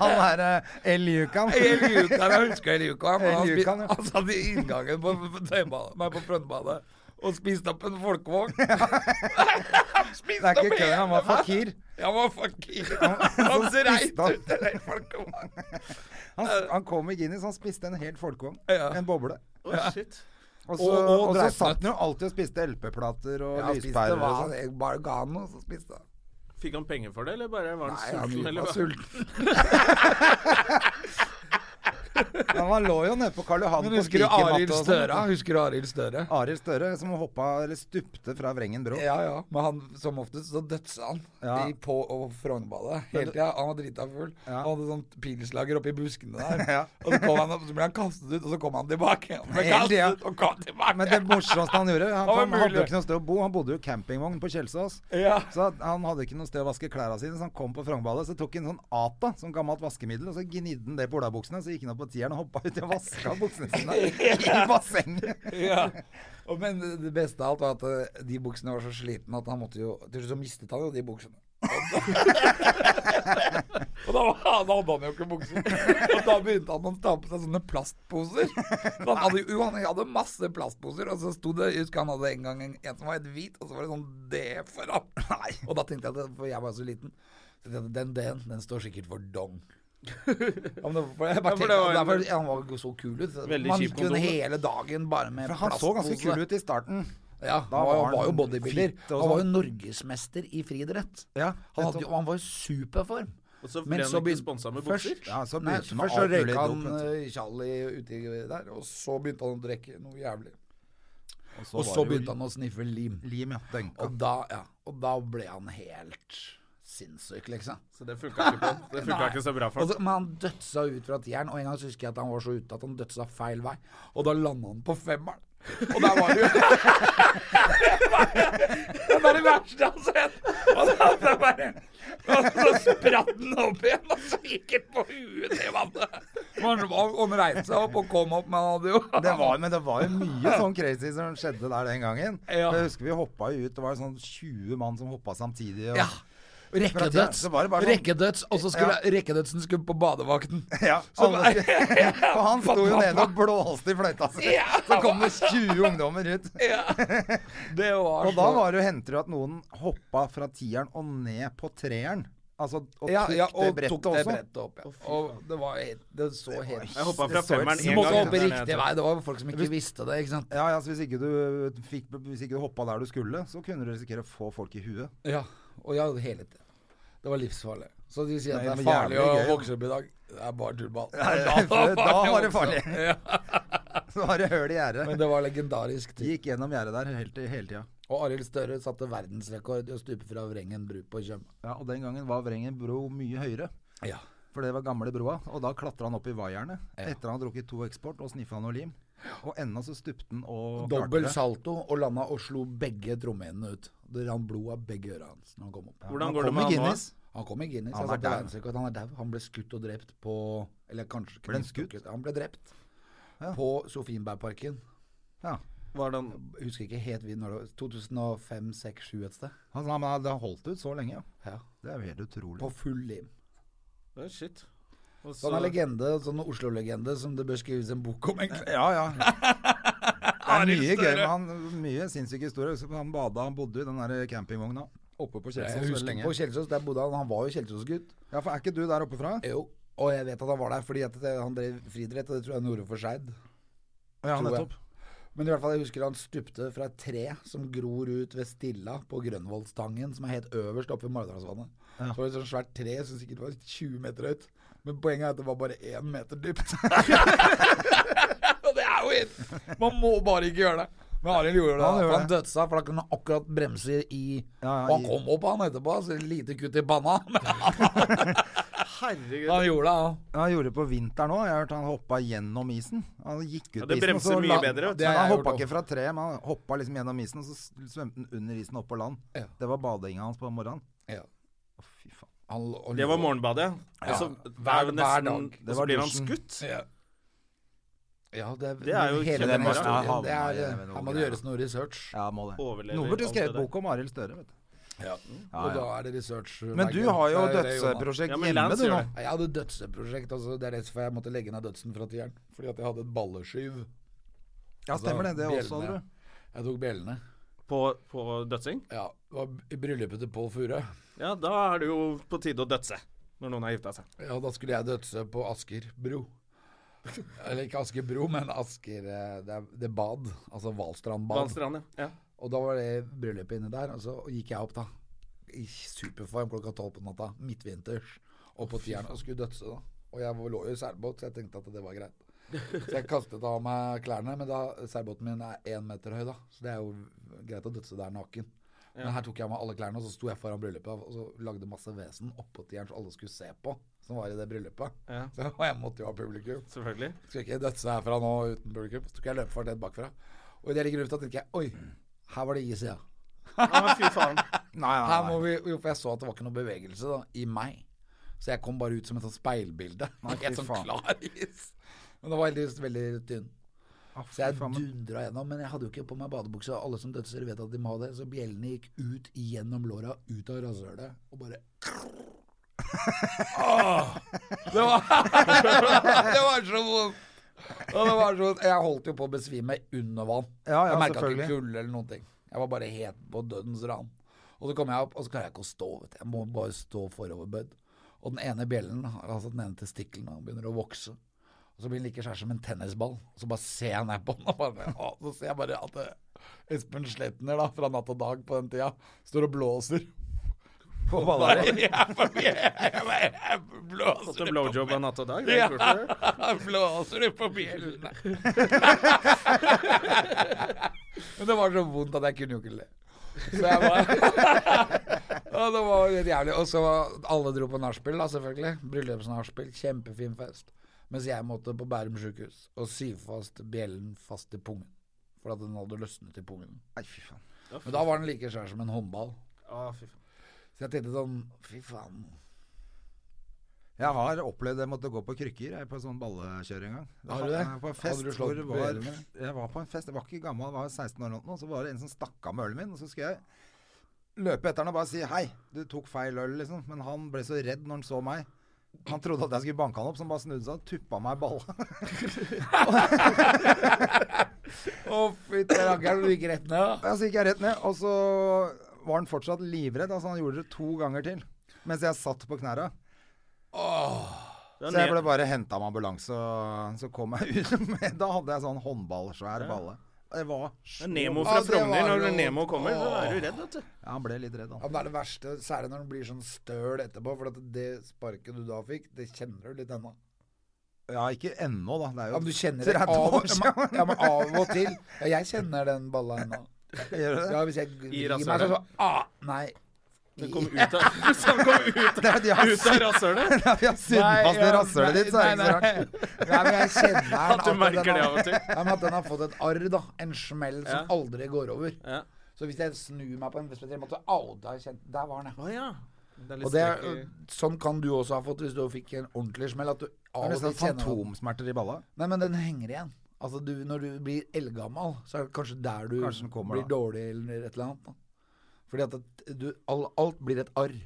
Speaker 2: Han er eh, El Yukan.
Speaker 3: Eljukan, jeg husker Eljukan. Han,
Speaker 2: El Yukan,
Speaker 3: spi-
Speaker 2: ja.
Speaker 3: han satt i inngangen på, på, tøybadet- nei, på frontbadet og spiste opp en folkevogn. han
Speaker 2: Det er
Speaker 3: spiste opp
Speaker 2: ikke kødd, han var fakir.
Speaker 3: Han var fakir. Han
Speaker 2: Så
Speaker 3: dreit
Speaker 2: spiste han.
Speaker 3: ut en hel folkevogn.
Speaker 2: Han, han kom i Guinness, han spiste en helt folkevogn.
Speaker 3: Ja.
Speaker 2: En boble.
Speaker 1: Å, shit.
Speaker 2: Og så,
Speaker 3: Og- og
Speaker 2: og så
Speaker 3: drepnøtt.
Speaker 2: satt han jo alltid og spiste LP-plater og
Speaker 3: Han spiste
Speaker 2: lyspærer og
Speaker 3: hva han
Speaker 2: sånn.
Speaker 3: jeg bare ga han, og så spiste han.
Speaker 1: Fikk han penger for det, eller bare var han
Speaker 3: Nei,
Speaker 1: sulten?
Speaker 3: han
Speaker 1: eller
Speaker 3: var
Speaker 1: hva?
Speaker 3: sulten.
Speaker 2: Men han lå jo nede på Karl Johan
Speaker 3: Men
Speaker 2: på
Speaker 3: husker du
Speaker 2: spikermatte
Speaker 3: Arild
Speaker 2: og sånn.
Speaker 3: Støre? Husker du Arild Støre?
Speaker 2: Arild Støre som hoppa eller stupte fra Vrengen bro.
Speaker 3: Ja, ja. Men han, som oftest så dødsa han
Speaker 2: Ja.
Speaker 3: i på- og frognbadet hele tida. Han var drita full.
Speaker 2: Ja.
Speaker 3: Han hadde sånt pilslager oppi buskene der.
Speaker 2: Ja.
Speaker 3: Og så, kom han, opp, så ble han kastet ut, og så kom han tilbake. igjen. Han ble
Speaker 2: Hele tida.
Speaker 3: kastet ut og kom tilbake.
Speaker 2: Men det morsomste han gjorde Han,
Speaker 3: Det var
Speaker 2: han hadde jo
Speaker 3: mulig.
Speaker 2: ikke noe sted å bo. Han bodde jo i campingvogn på Kjelsås.
Speaker 3: Ja.
Speaker 2: Så han hadde ikke noe sted å vaske klærne sine, så han kom på Frognerbadet. Så tok han sånn Ata som gammelt vaskemiddel, og så gnidde han det på olabuksene. Så gikk han opp på tieren og hoppa uti og vaska buksene sine i bassenget.
Speaker 3: ja. Og, men det beste av alt var at eh, de buksene var så slitne at han måtte jo Til slutt så mistet han jo de buksene. Og da, og da, var- da hadde han jo ikke bukser. Og da begynte han å ta på seg sånne plastposer. Så han hadde, jo, han hadde masse plastposer, og så sto det Jeg husker han hadde en gang en, en som var helt hvit, og så var det sånn D foran. Og da tenkte jeg at det- For jeg var så liten. Så tenkte jeg, den D-en, den står sikkert for dong. Ja, men det, for jeg bare
Speaker 1: Ja, for det
Speaker 3: tenkte,
Speaker 1: var en-
Speaker 3: derfor, han var jo så kul ut.
Speaker 1: Veldig
Speaker 3: Man
Speaker 1: kjip
Speaker 3: gikk jo
Speaker 1: kondom, da.
Speaker 3: hele dagen bare med
Speaker 2: For han så ganske
Speaker 3: plastpose.
Speaker 2: kul ut i starten.
Speaker 3: Ja,
Speaker 2: Da var
Speaker 3: han var,
Speaker 2: han
Speaker 3: var jo bodybuilder.
Speaker 2: fit og
Speaker 3: Han var jo
Speaker 2: sånn.
Speaker 3: norgesmester i friidrett.
Speaker 2: Ja,
Speaker 3: han, hadde jo- han var jo superform.
Speaker 1: Og så
Speaker 3: Men
Speaker 1: ble han
Speaker 3: så
Speaker 1: ikke
Speaker 3: begyn-
Speaker 1: sponset med
Speaker 3: først-
Speaker 1: bukser?
Speaker 2: Ja, så
Speaker 3: Nei,
Speaker 2: begynte han
Speaker 3: først så
Speaker 2: alt mulig
Speaker 3: røyka han
Speaker 2: dop, vet du.
Speaker 3: eh, Charlie uti der, og så begynte han å drikke noe jævlig.
Speaker 2: Og
Speaker 3: Og så begynte han å sniffe lim.
Speaker 2: Lim, ja. Dønka.
Speaker 3: Og da, ja, og da ble han helt sinnssyk, liksom.
Speaker 1: Så det funka ikke, på- det funket ikke så bra for
Speaker 3: Og
Speaker 1: ham.
Speaker 3: så, men han dødsa ut fra tieren, og en gang så husker jeg at han var så ute at han dødsa feil vei. Og da landa han på femmeren. Og der var det jo Det var det verste jeg har sett! Og så, så bare, og så spratt han opp igjen, og så gikk han på huet i vannet. Han, han reiste seg opp og kom opp, men han hadde jo
Speaker 2: Det var, men det var jo mye sånn crazy som skjedde der den gangen.
Speaker 3: Ja.
Speaker 2: Jeg husker vi hoppa jo ut, det var jo sånn 20 mann som hoppa samtidig. Og,
Speaker 3: Ja. Rekkedøds.
Speaker 2: Så var det bare sånn-
Speaker 3: Rekkedøds, og så skulle rekkedødsen skulle på badevakten.
Speaker 2: Ja,
Speaker 3: Så
Speaker 2: alle-
Speaker 3: bare-
Speaker 2: For han sto jo nede og blåste i fløyta si.
Speaker 3: Ja.
Speaker 2: Så kom det 20 ungdommer ut.
Speaker 3: Det var
Speaker 2: Og da var det jo hendte det at noen hoppa fra tieren og ned på treeren. Altså, og
Speaker 3: ja,
Speaker 2: tok
Speaker 3: ja, og
Speaker 2: det brettet
Speaker 3: tok det
Speaker 2: også.
Speaker 3: brettet opp. Ja. Og det var helt Det så helt
Speaker 1: Jeg hoppa fra
Speaker 2: Det så helt
Speaker 1: femmeren
Speaker 3: Du
Speaker 1: én
Speaker 3: måtte
Speaker 1: gang.
Speaker 3: opp i riktig vei. Det var jo folk som ikke visste det, ikke sant.
Speaker 2: Ja, ja, så hvis ikke, du fikk, hvis ikke du hoppa der du skulle, så kunne du risikere å få folk i huet.
Speaker 3: Ja. Og jeg hadde hele tiden. Det var livsfarlig. Så de sier
Speaker 2: Nei,
Speaker 3: at det er
Speaker 2: men jævlig
Speaker 3: farlig å
Speaker 2: gøy, da.
Speaker 3: vokse opp i dag. Det er bare tullball.
Speaker 2: for da var det
Speaker 3: å vokse opp.
Speaker 2: farlig.
Speaker 3: Ja.
Speaker 2: Så var det høl i gjerdet.
Speaker 3: Men det var legendarisk tid.
Speaker 2: Gikk gjennom gjerdet der hele, ti- hele tida.
Speaker 3: Og Arild Støre satte verdensrekord i å stupe fra Vrengen bru på Tjøme.
Speaker 2: Ja, og den gangen var Vrengen bro mye høyere.
Speaker 3: Ja.
Speaker 2: For det var gamle broa, og da klatra han opp i vaierne. Etter han hadde drukket to Eksport og sniffa noe lim. Og ennå så stupte han og
Speaker 3: Dobbel
Speaker 2: klarte det.
Speaker 3: salto og landa og slo begge trommehinnene ut. Det rant blod av begge øra hans når han kom opp.
Speaker 1: Hvordan
Speaker 2: Han
Speaker 1: går det
Speaker 2: kom
Speaker 1: med
Speaker 2: i
Speaker 1: han nå?
Speaker 2: Guinness.
Speaker 3: Han kom i Guinness.
Speaker 2: Han
Speaker 3: Han
Speaker 2: er
Speaker 3: er,
Speaker 2: dau.
Speaker 3: verdensrekord. han er dau. Han ble skutt og drept på Eller kanskje
Speaker 2: Ble han skutt?
Speaker 3: knivstukket. Han ble drept.
Speaker 2: Ja.
Speaker 3: På Sofienbergparken.
Speaker 2: Ja.
Speaker 1: Var det han
Speaker 3: Jeg Husker ikke helt vi når det var 2005, 6, 7 et sted.
Speaker 2: Han sa Altså, men det har holdt ut så lenge, ja.
Speaker 3: Ja.
Speaker 2: Det er jo helt utrolig.
Speaker 3: På full lim.
Speaker 1: Å, Shit. Og
Speaker 3: Så han er legende, sånn Oslo-legende som det bør skrives en bok om, egentlig.
Speaker 2: Ja, ja. Det er mye gøy med han. Mye sinnssyke historier. Så Han bada, han bodde i den der campingvogna oppe på
Speaker 3: Jeg
Speaker 2: Kjelsås veldig
Speaker 3: husker
Speaker 2: lenge.
Speaker 3: på Kjelsås, der bodde han. Han var jo Kjelsås-gutt.
Speaker 2: Ja, for er ikke du der oppe fra?
Speaker 3: Jo. Og jeg vet at han var der fordi at det- han drev friidrett, og det tror jeg han gjorde for Skeid.
Speaker 2: Ja,
Speaker 3: tror jeg.
Speaker 2: nettopp.
Speaker 3: Men i hvert fall, jeg husker han stupte fra et tre som gror ut ved Stilla på Grønvollstangen, som er helt øverst oppe i Maridalsvannet.
Speaker 2: Ja.
Speaker 3: Så var det et sånt svært tre som sikkert var 20 meter høyt. Men poenget er at det var bare én meter dypt. Og det er jo heroin! Man må bare ikke gjøre det. Men Arild gjorde det.
Speaker 2: Han gjorde
Speaker 3: Han, han
Speaker 2: det.
Speaker 3: dødsa, for da kunne han akkurat bremse i
Speaker 2: Ja,
Speaker 3: Og han
Speaker 2: i-
Speaker 3: kom opp, han etterpå. Så et lite kutt i panna. Men
Speaker 1: Herregud.
Speaker 3: han gjorde det, han.
Speaker 2: Han gjorde det på vinteren òg. Jeg har hørt han hoppa gjennom isen. Han gikk ut
Speaker 1: Ja, det
Speaker 2: på isen, og
Speaker 1: bremser
Speaker 2: så
Speaker 1: mye
Speaker 2: la-
Speaker 1: bedre, vet du.
Speaker 2: Men
Speaker 3: Det har
Speaker 2: han
Speaker 3: jeg
Speaker 2: hoppa
Speaker 3: gjort
Speaker 2: ikke fra treet, men han hoppa liksom gjennom isen, og så s- svømte han under isen opp på land.
Speaker 3: Ja.
Speaker 2: Det var badinga hans på morgenen.
Speaker 3: Ja.
Speaker 2: Å, fy faen.
Speaker 3: han lå- og
Speaker 1: Det var
Speaker 3: lå-
Speaker 1: morgenbadet. Og så
Speaker 3: hver-
Speaker 1: er det
Speaker 3: hver
Speaker 1: nesten-
Speaker 3: dag.
Speaker 1: Og
Speaker 2: Det
Speaker 1: så
Speaker 2: var
Speaker 1: blir han
Speaker 2: dusjen.
Speaker 1: skutt.
Speaker 3: Ja. Ja, det,
Speaker 1: Det er jo
Speaker 3: hele den
Speaker 1: kjempebra.
Speaker 3: historien.
Speaker 2: Ja,
Speaker 3: Det er, eh,
Speaker 2: havna i noe
Speaker 3: her må det
Speaker 2: greier.
Speaker 3: gjøres noe research.
Speaker 2: Ja, må det.
Speaker 1: Overlever
Speaker 2: Noen burde
Speaker 1: alt det
Speaker 2: skrevet
Speaker 1: der.
Speaker 2: bok om Arild Støre, vet du.
Speaker 3: Og da er det research.
Speaker 2: Men du
Speaker 3: Bergen.
Speaker 2: har jo
Speaker 3: Det er det, Jonas.
Speaker 2: dødsprosjekt
Speaker 1: Ja, men
Speaker 2: hjemme,
Speaker 1: Lance
Speaker 2: du nå.
Speaker 1: gjør det.
Speaker 3: Nei, Jeg hadde dødsprosjekt, altså. Det er derfor jeg måtte legge ned dødsen fra tieren. Fordi at jeg hadde et balleskyv.
Speaker 2: Ja, stemmer det. Det
Speaker 3: Altså, bjellene.
Speaker 2: også, hadde du.
Speaker 3: Jeg tok bjellene.
Speaker 1: På, på dødsing?
Speaker 3: Ja, det var i bryllupet til Pål Fure.
Speaker 1: Ja, da er det jo på tide å dødse. Når noen har gifta seg.
Speaker 3: Ja, da skulle jeg dødse på Asker bro. Eller ikke Asker bro, men Asker eh, Det, er, det er bad. Altså Valstrand bad.
Speaker 1: Valstrand, ja. ja.
Speaker 3: Og da var det bryllupet inne der, og så gikk jeg opp da. I superform klokka tolv på natta, midtvinters, opp på tieren og skulle dødse da. Og jeg lå jo i seilbåt, så jeg tenkte at det var greit. Så jeg kastet av meg klærne, men da, seilbåten min er én meter høy da, så det er jo greit å dødse der naken. Men her tok jeg av meg alle klærne, og så sto jeg foran bryllupet, og så lagde masse vesen oppå tieren, så alle skulle se på, som var i det bryllupet.
Speaker 1: Ja.
Speaker 3: Så, og jeg måtte jo ha publikum.
Speaker 1: Selvfølgelig.
Speaker 3: Skal ikke dødse herfra nå uten publikum. Så tok jeg løpefart rett bakfra. Og idet jeg ligger i lufta, tenker jeg oi, her var det is, ja.
Speaker 1: Ah, fy faen.
Speaker 2: Nei,
Speaker 3: Her
Speaker 2: Ah, nei,
Speaker 3: må
Speaker 2: nei.
Speaker 3: vi, jo, for jeg så at det var ikke noe bevegelse da, i meg. Så jeg kom bare ut som et sånt speilbilde.
Speaker 2: Nei, fy
Speaker 3: Helt sånn
Speaker 2: faen.
Speaker 3: klar is. Men det var heldigvis veldig tynn.
Speaker 2: Å,
Speaker 3: Så jeg
Speaker 2: Ah, fy faen, men-
Speaker 3: dundra gjennom. Men jeg hadde jo ikke på meg badebukse. og Alle som dødser, vet at de må ha det. Så bjellene gikk ut gjennom låra, ut av rasshølet, og bare Åh! det, var, det var så vondt! Og det var så vondt. Jeg holdt jo på å besvime under vann.
Speaker 2: Ja, ja,
Speaker 3: jeg merka ikke
Speaker 2: selvfølgelig.
Speaker 3: kulde eller noen ting. Jeg var bare helt på dødens rand. Og så kom jeg opp, og så klarer jeg ikke å stå. Vet du. Jeg må bare stå foroverbøyd. Og den ene bjellen, altså den ene testikkelen, han begynner å vokse. Og så blir den like skjær som en tennisball. Og så bare ser jeg ned på den, og bare, å, så ser jeg bare at eh, Espen Sletner, da, fra natt og dag på den tida, står og blåser.
Speaker 2: På ballaret.
Speaker 3: Jeg bare- jeg bare- jeg
Speaker 1: Fått en
Speaker 3: blåser på-
Speaker 1: blowjob av natt og dag. Det er kult for deg.
Speaker 3: jeg blåser du på bjellene? Men det var så vondt at jeg kunne jo ikke le. Så jeg bare Og det var litt jævlig. Og så alle dro på nachspiel, da, selvfølgelig. Bryllupsnachspiel. Kjempefin fest. Mens jeg måtte på Bærum sjukehus og sy fast bjellen fast i pungen. For at den hadde løsnet i pungen.
Speaker 2: Nei, fy faen.
Speaker 3: Men da var den like svær som en håndball.
Speaker 1: Ah, fy faen.
Speaker 3: Så jeg tenkte sånn Fy faen.
Speaker 2: Jeg har opplevd jeg måtte gå på krykker jeg, på sånn ballekjøring en gang.
Speaker 3: Har du det?
Speaker 2: Jeg var På en fest
Speaker 3: Hadde du
Speaker 2: hvor
Speaker 3: slått
Speaker 2: det var,
Speaker 3: bjellene?
Speaker 2: jeg var på en fest, jeg var ikke gammel, jeg var 16 år eller noe, så var det en som stakk av med ølen min, og så skulle jeg løpe etter han og bare si hei, du tok feil øl, liksom. Men han ble så redd når han så meg. Han trodde at jeg skulle banke han opp, så han bare snudde seg og tuppa meg i balla.
Speaker 3: Å, fytti rakkeren, du gikk rett ned, da.
Speaker 2: Ja, Så gikk jeg rett ned, og så var han fortsatt livredd. Altså, han gjorde det to ganger til. Mens jeg satt på knærne.
Speaker 1: Det er
Speaker 2: Så jeg ble
Speaker 1: ned-
Speaker 2: bare henta av ambulanse, og så kom jeg ut. med- Da hadde jeg sånn håndballsvær balle. Det var
Speaker 1: det
Speaker 2: så
Speaker 1: er Nemo fra
Speaker 3: Ah, det
Speaker 1: Frogner.
Speaker 3: var
Speaker 1: Når
Speaker 3: jo-
Speaker 1: Nemo kommer, så er du redd, vet du.
Speaker 2: Ja, han ble litt redd,
Speaker 3: Ja,
Speaker 2: han.
Speaker 3: men det er det verste, særlig når den blir sånn støl etterpå, for at det sparket du da fikk, det kjenner du litt ennå.
Speaker 2: Ja, ikke ennå, da. Det er jo
Speaker 3: Ja, men du kjenner det
Speaker 2: 30
Speaker 3: av,
Speaker 2: år siden.
Speaker 3: ja, men av og til. Ja, jeg kjenner den balla ennå.
Speaker 2: Gjør du det?
Speaker 3: Ja, hvis jeg vrir meg
Speaker 1: rasshølet?
Speaker 3: sånn, så ah, nei.
Speaker 1: Den kom ut av, så den kom ut,
Speaker 2: Det er de har,
Speaker 1: ut av rasshølet.
Speaker 2: de har sydd fast i
Speaker 3: ja,
Speaker 2: rasshølet ditt, så er det ikke så
Speaker 3: nei,
Speaker 2: rart.
Speaker 3: nei. Nei, men jeg kjenner den.
Speaker 1: At du
Speaker 3: den
Speaker 1: merker det
Speaker 3: har-
Speaker 1: av og til.
Speaker 3: Ja, men at den har fått et arr, da. En smell som
Speaker 1: Ja.
Speaker 3: aldri går over.
Speaker 1: Ja.
Speaker 3: Så hvis jeg snur meg på en spesiell måte, au, der, kjent, der var den, ja.
Speaker 1: Å ja. Det er litt
Speaker 3: Og det,
Speaker 1: strekk i-
Speaker 3: sånn kan du også ha fått hvis du fikk en ordentlig smell. At du
Speaker 2: Det
Speaker 3: av
Speaker 2: er
Speaker 3: og til
Speaker 2: nesten
Speaker 3: kjenner at-
Speaker 2: fantomsmerter i balla.
Speaker 3: Nei, men den henger igjen. Altså, du, når du blir eldgammel, så er det kanskje der du
Speaker 2: Kanskje den kommer,
Speaker 3: blir
Speaker 2: da.
Speaker 3: dårlig eller et eller annet. Da. Fordi at det- du, all, alt blir et arr. Det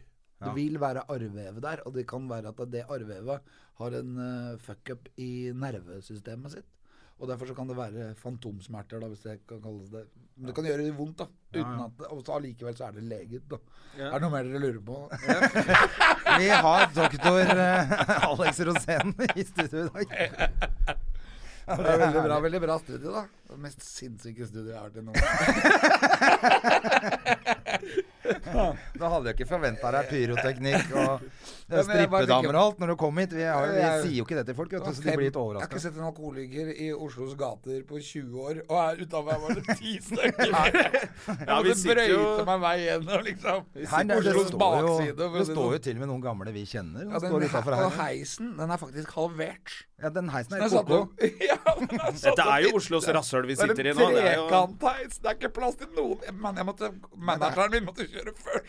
Speaker 2: Ja.
Speaker 3: vil være arrvev der, og det kan være at det arrvevet har en eh, fuck-up i nervesystemet sitt. Og derfor så kan det være fantomsmerter, da, hvis det kan kalles det. Men det kan gjøre det vondt, da. Uten at, det- og så allikevel så er det leget, da. Er det noe mer dere lurer på?
Speaker 2: Vi har doktor eh, Alex Rosén i studio i dag.
Speaker 3: Det er veldig bra, veldig bra studie, da. Det mest sinnssyke studioet jeg har vært i nå.
Speaker 2: Da hadde jeg ikke forventa deg pyroteknikk og
Speaker 3: jeg bare tenker-
Speaker 2: strippedamer og alt når du kom hit. Vi, har, vi
Speaker 3: Jeg-
Speaker 2: sier jo ikke det til folk, vet du, så de blir litt
Speaker 3: Altså, Jeg har ikke
Speaker 2: overraska.
Speaker 3: sett en alkoholiker i Oslos gater på 20 år, og her utenfor her var det ti stykker. Jeg
Speaker 1: vi
Speaker 3: måtte
Speaker 1: sitter jo-
Speaker 3: brøyte meg vei gjennom, liksom.
Speaker 2: Her, det, det,
Speaker 3: Oslos
Speaker 2: står jo,
Speaker 3: bakside, for å
Speaker 2: det
Speaker 3: si
Speaker 2: står jo
Speaker 3: sånn.
Speaker 2: til og med noen gamle vi kjenner.
Speaker 3: ja,
Speaker 2: Den
Speaker 3: den,
Speaker 2: står utenfor
Speaker 3: he- Og
Speaker 2: her.
Speaker 3: heisen, den er faktisk halvert.
Speaker 2: Ja, den heisen er i
Speaker 3: Den er satt
Speaker 2: Koko.
Speaker 3: opp- Ja, den er satt
Speaker 1: Dette
Speaker 3: opp
Speaker 1: er jo
Speaker 3: i-
Speaker 1: Oslos rasshøl vi
Speaker 3: Det er
Speaker 1: sitter i
Speaker 3: en
Speaker 1: nå. Det er jo,
Speaker 3: trekantheis. Det er ikke plass til noen. Men jeg måtte, manageren min måtte kjøre først.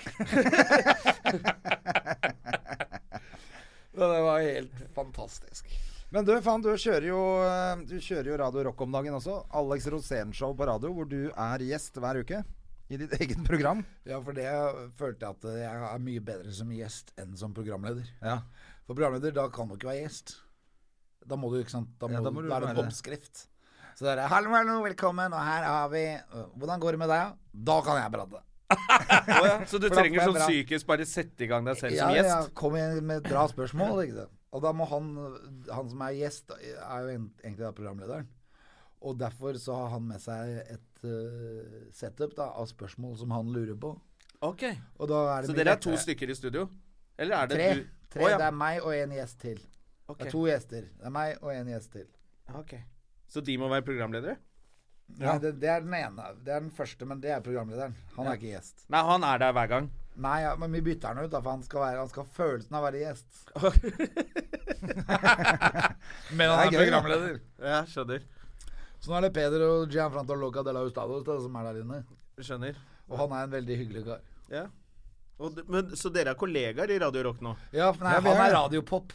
Speaker 3: Så det var helt fantastisk.
Speaker 2: Men du, faen, du kjører jo eh, Du kjører jo Radio Rock om dagen også. Alex Rosén-show på radio, hvor du er gjest hver uke. I ditt eget program.
Speaker 3: Ja, for det følte jeg at jeg er mye bedre som gjest enn som programleder.
Speaker 2: Ja.
Speaker 3: For programleder, da kan du ikke være gjest. Da må du, ikke sant Da, må,
Speaker 2: Ja, da
Speaker 3: du-
Speaker 2: må du
Speaker 3: da er det en
Speaker 2: være-
Speaker 3: oppskrift. Så det er 'hallo, hallo, velkommen, og her har vi øh, Hvordan går det med deg? Da kan jeg prate.
Speaker 1: Å ja, så du
Speaker 3: For da
Speaker 1: trenger
Speaker 3: får jeg
Speaker 1: sånn
Speaker 3: bra.
Speaker 1: psykisk bare sette i gang deg selv
Speaker 3: Ja,
Speaker 1: som
Speaker 3: ja,
Speaker 1: gjest?
Speaker 3: kom igjen med bra spørsmål. Ikke sant? Og da må han, han som er gjest, er jo en- egentlig da programlederen. Og derfor så har han med seg et eh, setup da, av spørsmål som han lurer på.
Speaker 1: Ok.
Speaker 3: Og da er det
Speaker 1: Så
Speaker 3: mye
Speaker 1: dere er to
Speaker 3: lettere.
Speaker 1: stykker i studio? Eller er det
Speaker 3: Tre.
Speaker 1: du?
Speaker 3: Tre.
Speaker 1: Å, ja.
Speaker 3: Det er meg og en gjest til. Det
Speaker 1: Ok.
Speaker 3: er to gjester. Det er meg og en gjest til.
Speaker 1: Ok. Så de må være programledere?
Speaker 3: Nei, det, det er den ene. Det er den første, men det er programlederen. Han er ikke gjest.
Speaker 1: Nei, han er der hver gang.
Speaker 3: Nei, ja, men vi bytter han ut, da, for han skal, være, han skal ha følelsen av å være gjest. men han er,
Speaker 2: Det er gøy, da.
Speaker 3: programleder.
Speaker 1: Ja, skjønner.
Speaker 3: Så nå er det Peder og Gianfranco Loca de la Hustados da, som er der inne.
Speaker 1: Skjønner.
Speaker 3: Og han er en veldig hyggelig kar.
Speaker 1: Ja. Og, d- men, så dere er kollegaer i Radio Rock nå?
Speaker 3: Ja, for nei,
Speaker 2: Ja, vi
Speaker 3: han
Speaker 2: er
Speaker 3: er
Speaker 2: det.
Speaker 3: radiopop.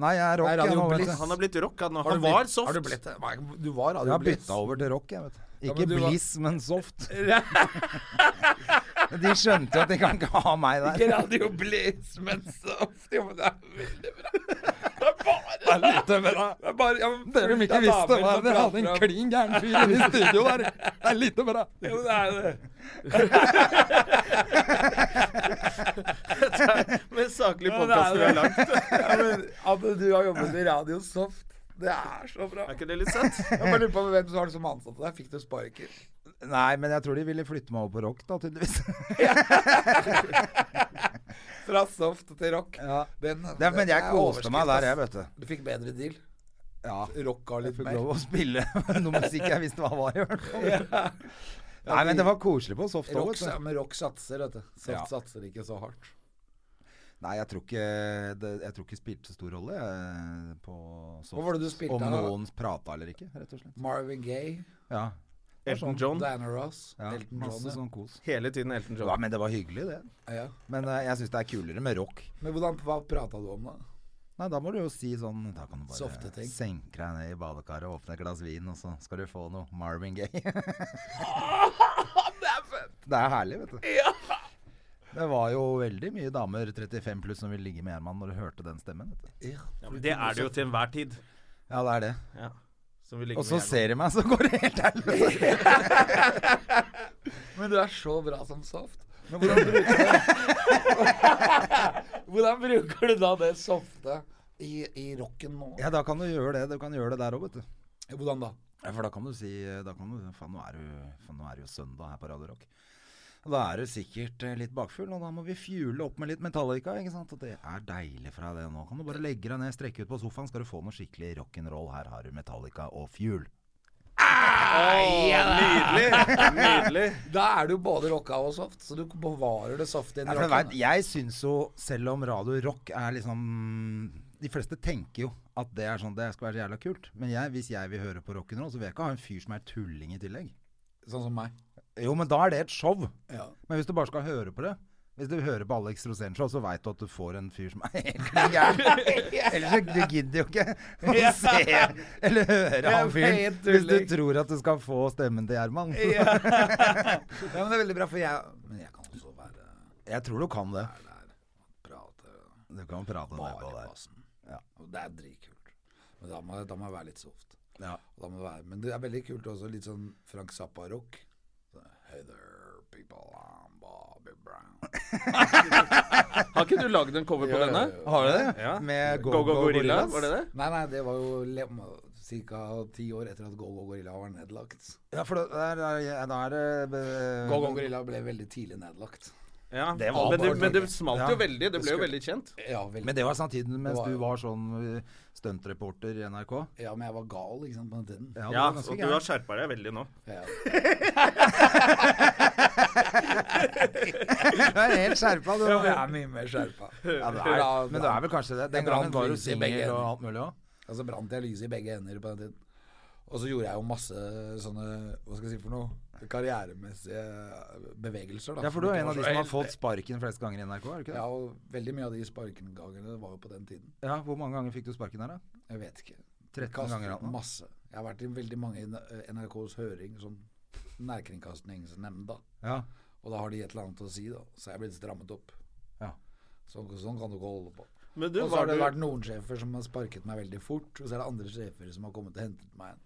Speaker 2: Nei, jeg er rock.
Speaker 3: Nei,
Speaker 2: jeg, nå,
Speaker 3: Radio
Speaker 2: vet du.
Speaker 3: Bliss.
Speaker 1: Han har blitt rock, han nå.
Speaker 3: Har du
Speaker 1: Han
Speaker 3: blitt-
Speaker 1: var soft.
Speaker 3: Har du blitt det? Nei, Du var
Speaker 2: jeg har
Speaker 3: radiobliss.
Speaker 2: bytta over til rock, jeg, vet du. Ikke
Speaker 3: men du var-
Speaker 2: Bliss, men Soft. de skjønte jo at de kan ikke ha meg der.
Speaker 3: Radiobliss, men soft. Jo, men det er veldig bra. Det er bare det. Det er bare, ja, men
Speaker 2: Dere som ikke
Speaker 3: det er
Speaker 2: visste
Speaker 3: damer
Speaker 2: hva
Speaker 3: som
Speaker 2: dere hadde en
Speaker 3: prater om-
Speaker 2: klin gæren fyr inne i studio der. Det er lite bra.
Speaker 3: Jo, det er det.
Speaker 1: Med saklig
Speaker 3: Ja, det er
Speaker 1: podkast vi har lagd.
Speaker 3: Ja, men at du har jobbet i Radio Soft, det er så bra.
Speaker 1: Er ikke det litt søtt?
Speaker 3: Jeg bare lurer på hvem som var det som ansatte deg. Fikk du sparken?
Speaker 2: Nei, men jeg tror de ville flytte meg over på rock, da, tydeligvis.
Speaker 3: Fra soft til rock.
Speaker 2: Ja.
Speaker 3: Den,
Speaker 2: Det, er- men jeg
Speaker 3: er
Speaker 2: koste meg der, jeg,
Speaker 3: overskrift, ass.
Speaker 2: vet du.
Speaker 3: Du fikk bedre deal.
Speaker 2: Ja.
Speaker 3: Rock ga
Speaker 2: Jeg
Speaker 3: litt
Speaker 2: fikk
Speaker 3: mer.
Speaker 2: lov å spille noe musikk jeg visste hva var, i hvert fall. Nei, men det var koselig på soft
Speaker 3: Rock,
Speaker 2: også,
Speaker 3: sa-
Speaker 2: vet du.
Speaker 3: men rock satser, vet du. Soft
Speaker 2: Ja.
Speaker 3: satser ikke så hardt.
Speaker 2: Nei, jeg tror ikke det, jeg tror ikke spilte så stor rolle eh, på soft.
Speaker 3: Hva var det du spilte
Speaker 2: Om
Speaker 3: da?
Speaker 2: noen prata eller ikke, rett og slett.
Speaker 3: Marvin Gaye,
Speaker 2: Ja.
Speaker 1: Elton John.
Speaker 3: Diana Ross,
Speaker 2: ja
Speaker 3: Elton John.
Speaker 2: masse
Speaker 3: ja.
Speaker 2: sånn kos.
Speaker 1: Hele tiden Elton
Speaker 2: Ja,
Speaker 1: John.
Speaker 2: men det var hyggelig, det.
Speaker 3: Ja.
Speaker 2: Men eh, jeg syns det er kulere med rock.
Speaker 3: Men hvordan, hva prata du om, da?
Speaker 2: Nei, da må du jo si sånn Da kan du bare
Speaker 3: Softe ting.
Speaker 2: senke deg ned i badekaret, åpne et glass vin, og så skal du få noe Marvin Gaye. det er herlig, vet du. Det var jo veldig mye damer 35 pluss som ville ligge med Herman når du hørte den stemmen. Vet du.
Speaker 1: Ja, men det er det jo til enhver tid.
Speaker 2: Ja, det er det.
Speaker 1: Ja. Som vi ligger
Speaker 2: Og så
Speaker 1: med her nå.
Speaker 2: ser de meg, så går det helt ærlig.
Speaker 3: Men du er så bra som soft. Men hvordan bruker du Hvordan bruker du da det softe i, i rocken nå?
Speaker 2: Ja, da kan du gjøre det. Du kan gjøre det der òg, vet du.
Speaker 3: Hvordan da?
Speaker 2: Ja, for da kan du si da kan du, faen, nå er det jo- faen, nå er det jo søndag her på Radio Rock. Og Da er du sikkert eh, litt bakfull, og da må vi fjule opp med litt Metallica. ikke sant? Og det er deilig fra det nå. Kan du bare legge deg ned, strekke ut på sofaen, skal du få noe skikkelig rock'n'roll. Her har du Metallica og Fuel.
Speaker 1: Nydelig! Nydelig.
Speaker 3: Da er du både rocka og soft, så du bevarer det softe inni
Speaker 2: Ja, for du vet,
Speaker 3: rocken.
Speaker 2: jeg syns jo, selv om Radio Rock er liksom De fleste tenker jo at det er sånn, det skal være så jævla kult. Men jeg, hvis jeg vil høre på rock'n'roll, så vil jeg ikke ha en fyr som er tulling i tillegg.
Speaker 3: Sånn som meg.
Speaker 2: Jo, men da er det et show.
Speaker 3: Ja.
Speaker 2: Men hvis du bare skal høre på det Hvis du hører på Alex Rosén Show, så veit du at du får en fyr som er helt klin gæren. Ellers så du gidder jo ikke å se eller høre han fyren
Speaker 3: helt
Speaker 2: hvis du
Speaker 3: tulling.
Speaker 2: tror at du skal få stemmen til Gjerman.
Speaker 3: ja, men det er veldig bra, for jeg Men jeg kan også være
Speaker 2: Jeg tror du kan det.
Speaker 3: prate
Speaker 2: Du kan prate om det på
Speaker 3: bare
Speaker 2: der.
Speaker 3: bassen. Og det er dritkult. Men da må, jeg- da må jeg være litt soft.
Speaker 2: Ja.
Speaker 3: Og Da må det være, men det er veldig kult også, litt sånn Frank Zappa-rock. Så, Hey there, people, I'm Bobby Brown.
Speaker 1: Har ikke du lagd en cover på denne?
Speaker 2: Har du det?
Speaker 1: Ja.
Speaker 2: Med
Speaker 1: Go Go Gorilla, var det det?
Speaker 3: Nei, nei, det var jo le ca. ti år etter at Go-Go Gorilla var nedlagt.
Speaker 2: Ja, for da er, da er- da er det eh, be-
Speaker 3: Go-Go Gorilla ble veldig tidlig nedlagt.
Speaker 1: Ja,
Speaker 2: Det var
Speaker 1: men, det,
Speaker 2: bare-
Speaker 1: men det smalt jo
Speaker 2: Ja.
Speaker 1: veldig. Det ble jo veldig kjent.
Speaker 3: Ja, veldig.
Speaker 2: Men det var samtidig mens
Speaker 3: Det var-
Speaker 2: du var sånn eh, stuntreporter i NRK.
Speaker 3: ja, men jeg var gal ikke sant, på den tiden.
Speaker 2: det
Speaker 1: Ja,
Speaker 2: var ganske
Speaker 1: og du
Speaker 2: gærent.
Speaker 1: har skjerpa deg veldig nå.
Speaker 3: Ja.
Speaker 2: Du er helt skjerpa, du.
Speaker 3: Jeg er mye mer skjerpa.
Speaker 2: Ja, det er, men du er vel kanskje det? Den
Speaker 3: Jeg brant
Speaker 2: gangen var du
Speaker 3: lys i begge
Speaker 2: singel og
Speaker 3: ender.
Speaker 2: alt mulig òg?
Speaker 3: Og så altså, brant jeg lyset i begge ender på den tiden. Og så gjorde jeg jo masse sånne Hva skal jeg si for noe? Karrieremessige bevegelser, da.
Speaker 2: Ja, for du er en av
Speaker 3: Som
Speaker 2: de
Speaker 3: ikke
Speaker 2: som
Speaker 3: var
Speaker 2: har fått sparken flest ganger i NRK, er du
Speaker 3: så-
Speaker 2: ikke det?
Speaker 3: Ja, og veldig mye av de sparkengangene var jo på den tiden.
Speaker 2: Ja, Hvor mange ganger fikk du sparken der, da?
Speaker 3: Jeg vet ikke.
Speaker 2: 13
Speaker 3: Kastet
Speaker 2: ganger eller noe.
Speaker 3: Masse. Jeg har vært i veldig mange i NRKs høring, sånn nærkringkastingsnemnda.
Speaker 2: Ja.
Speaker 3: Og da har de et eller annet å si, da. Så jeg er blitt strammet opp.
Speaker 2: Ja.
Speaker 3: Sånn, sånn kan du ikke holde på.
Speaker 1: Men du,
Speaker 3: og så
Speaker 1: var
Speaker 3: har det
Speaker 1: du
Speaker 3: vært noen sjefer som har sparket meg veldig fort, og så er det andre sjefer som har kommet og hentet meg igjen.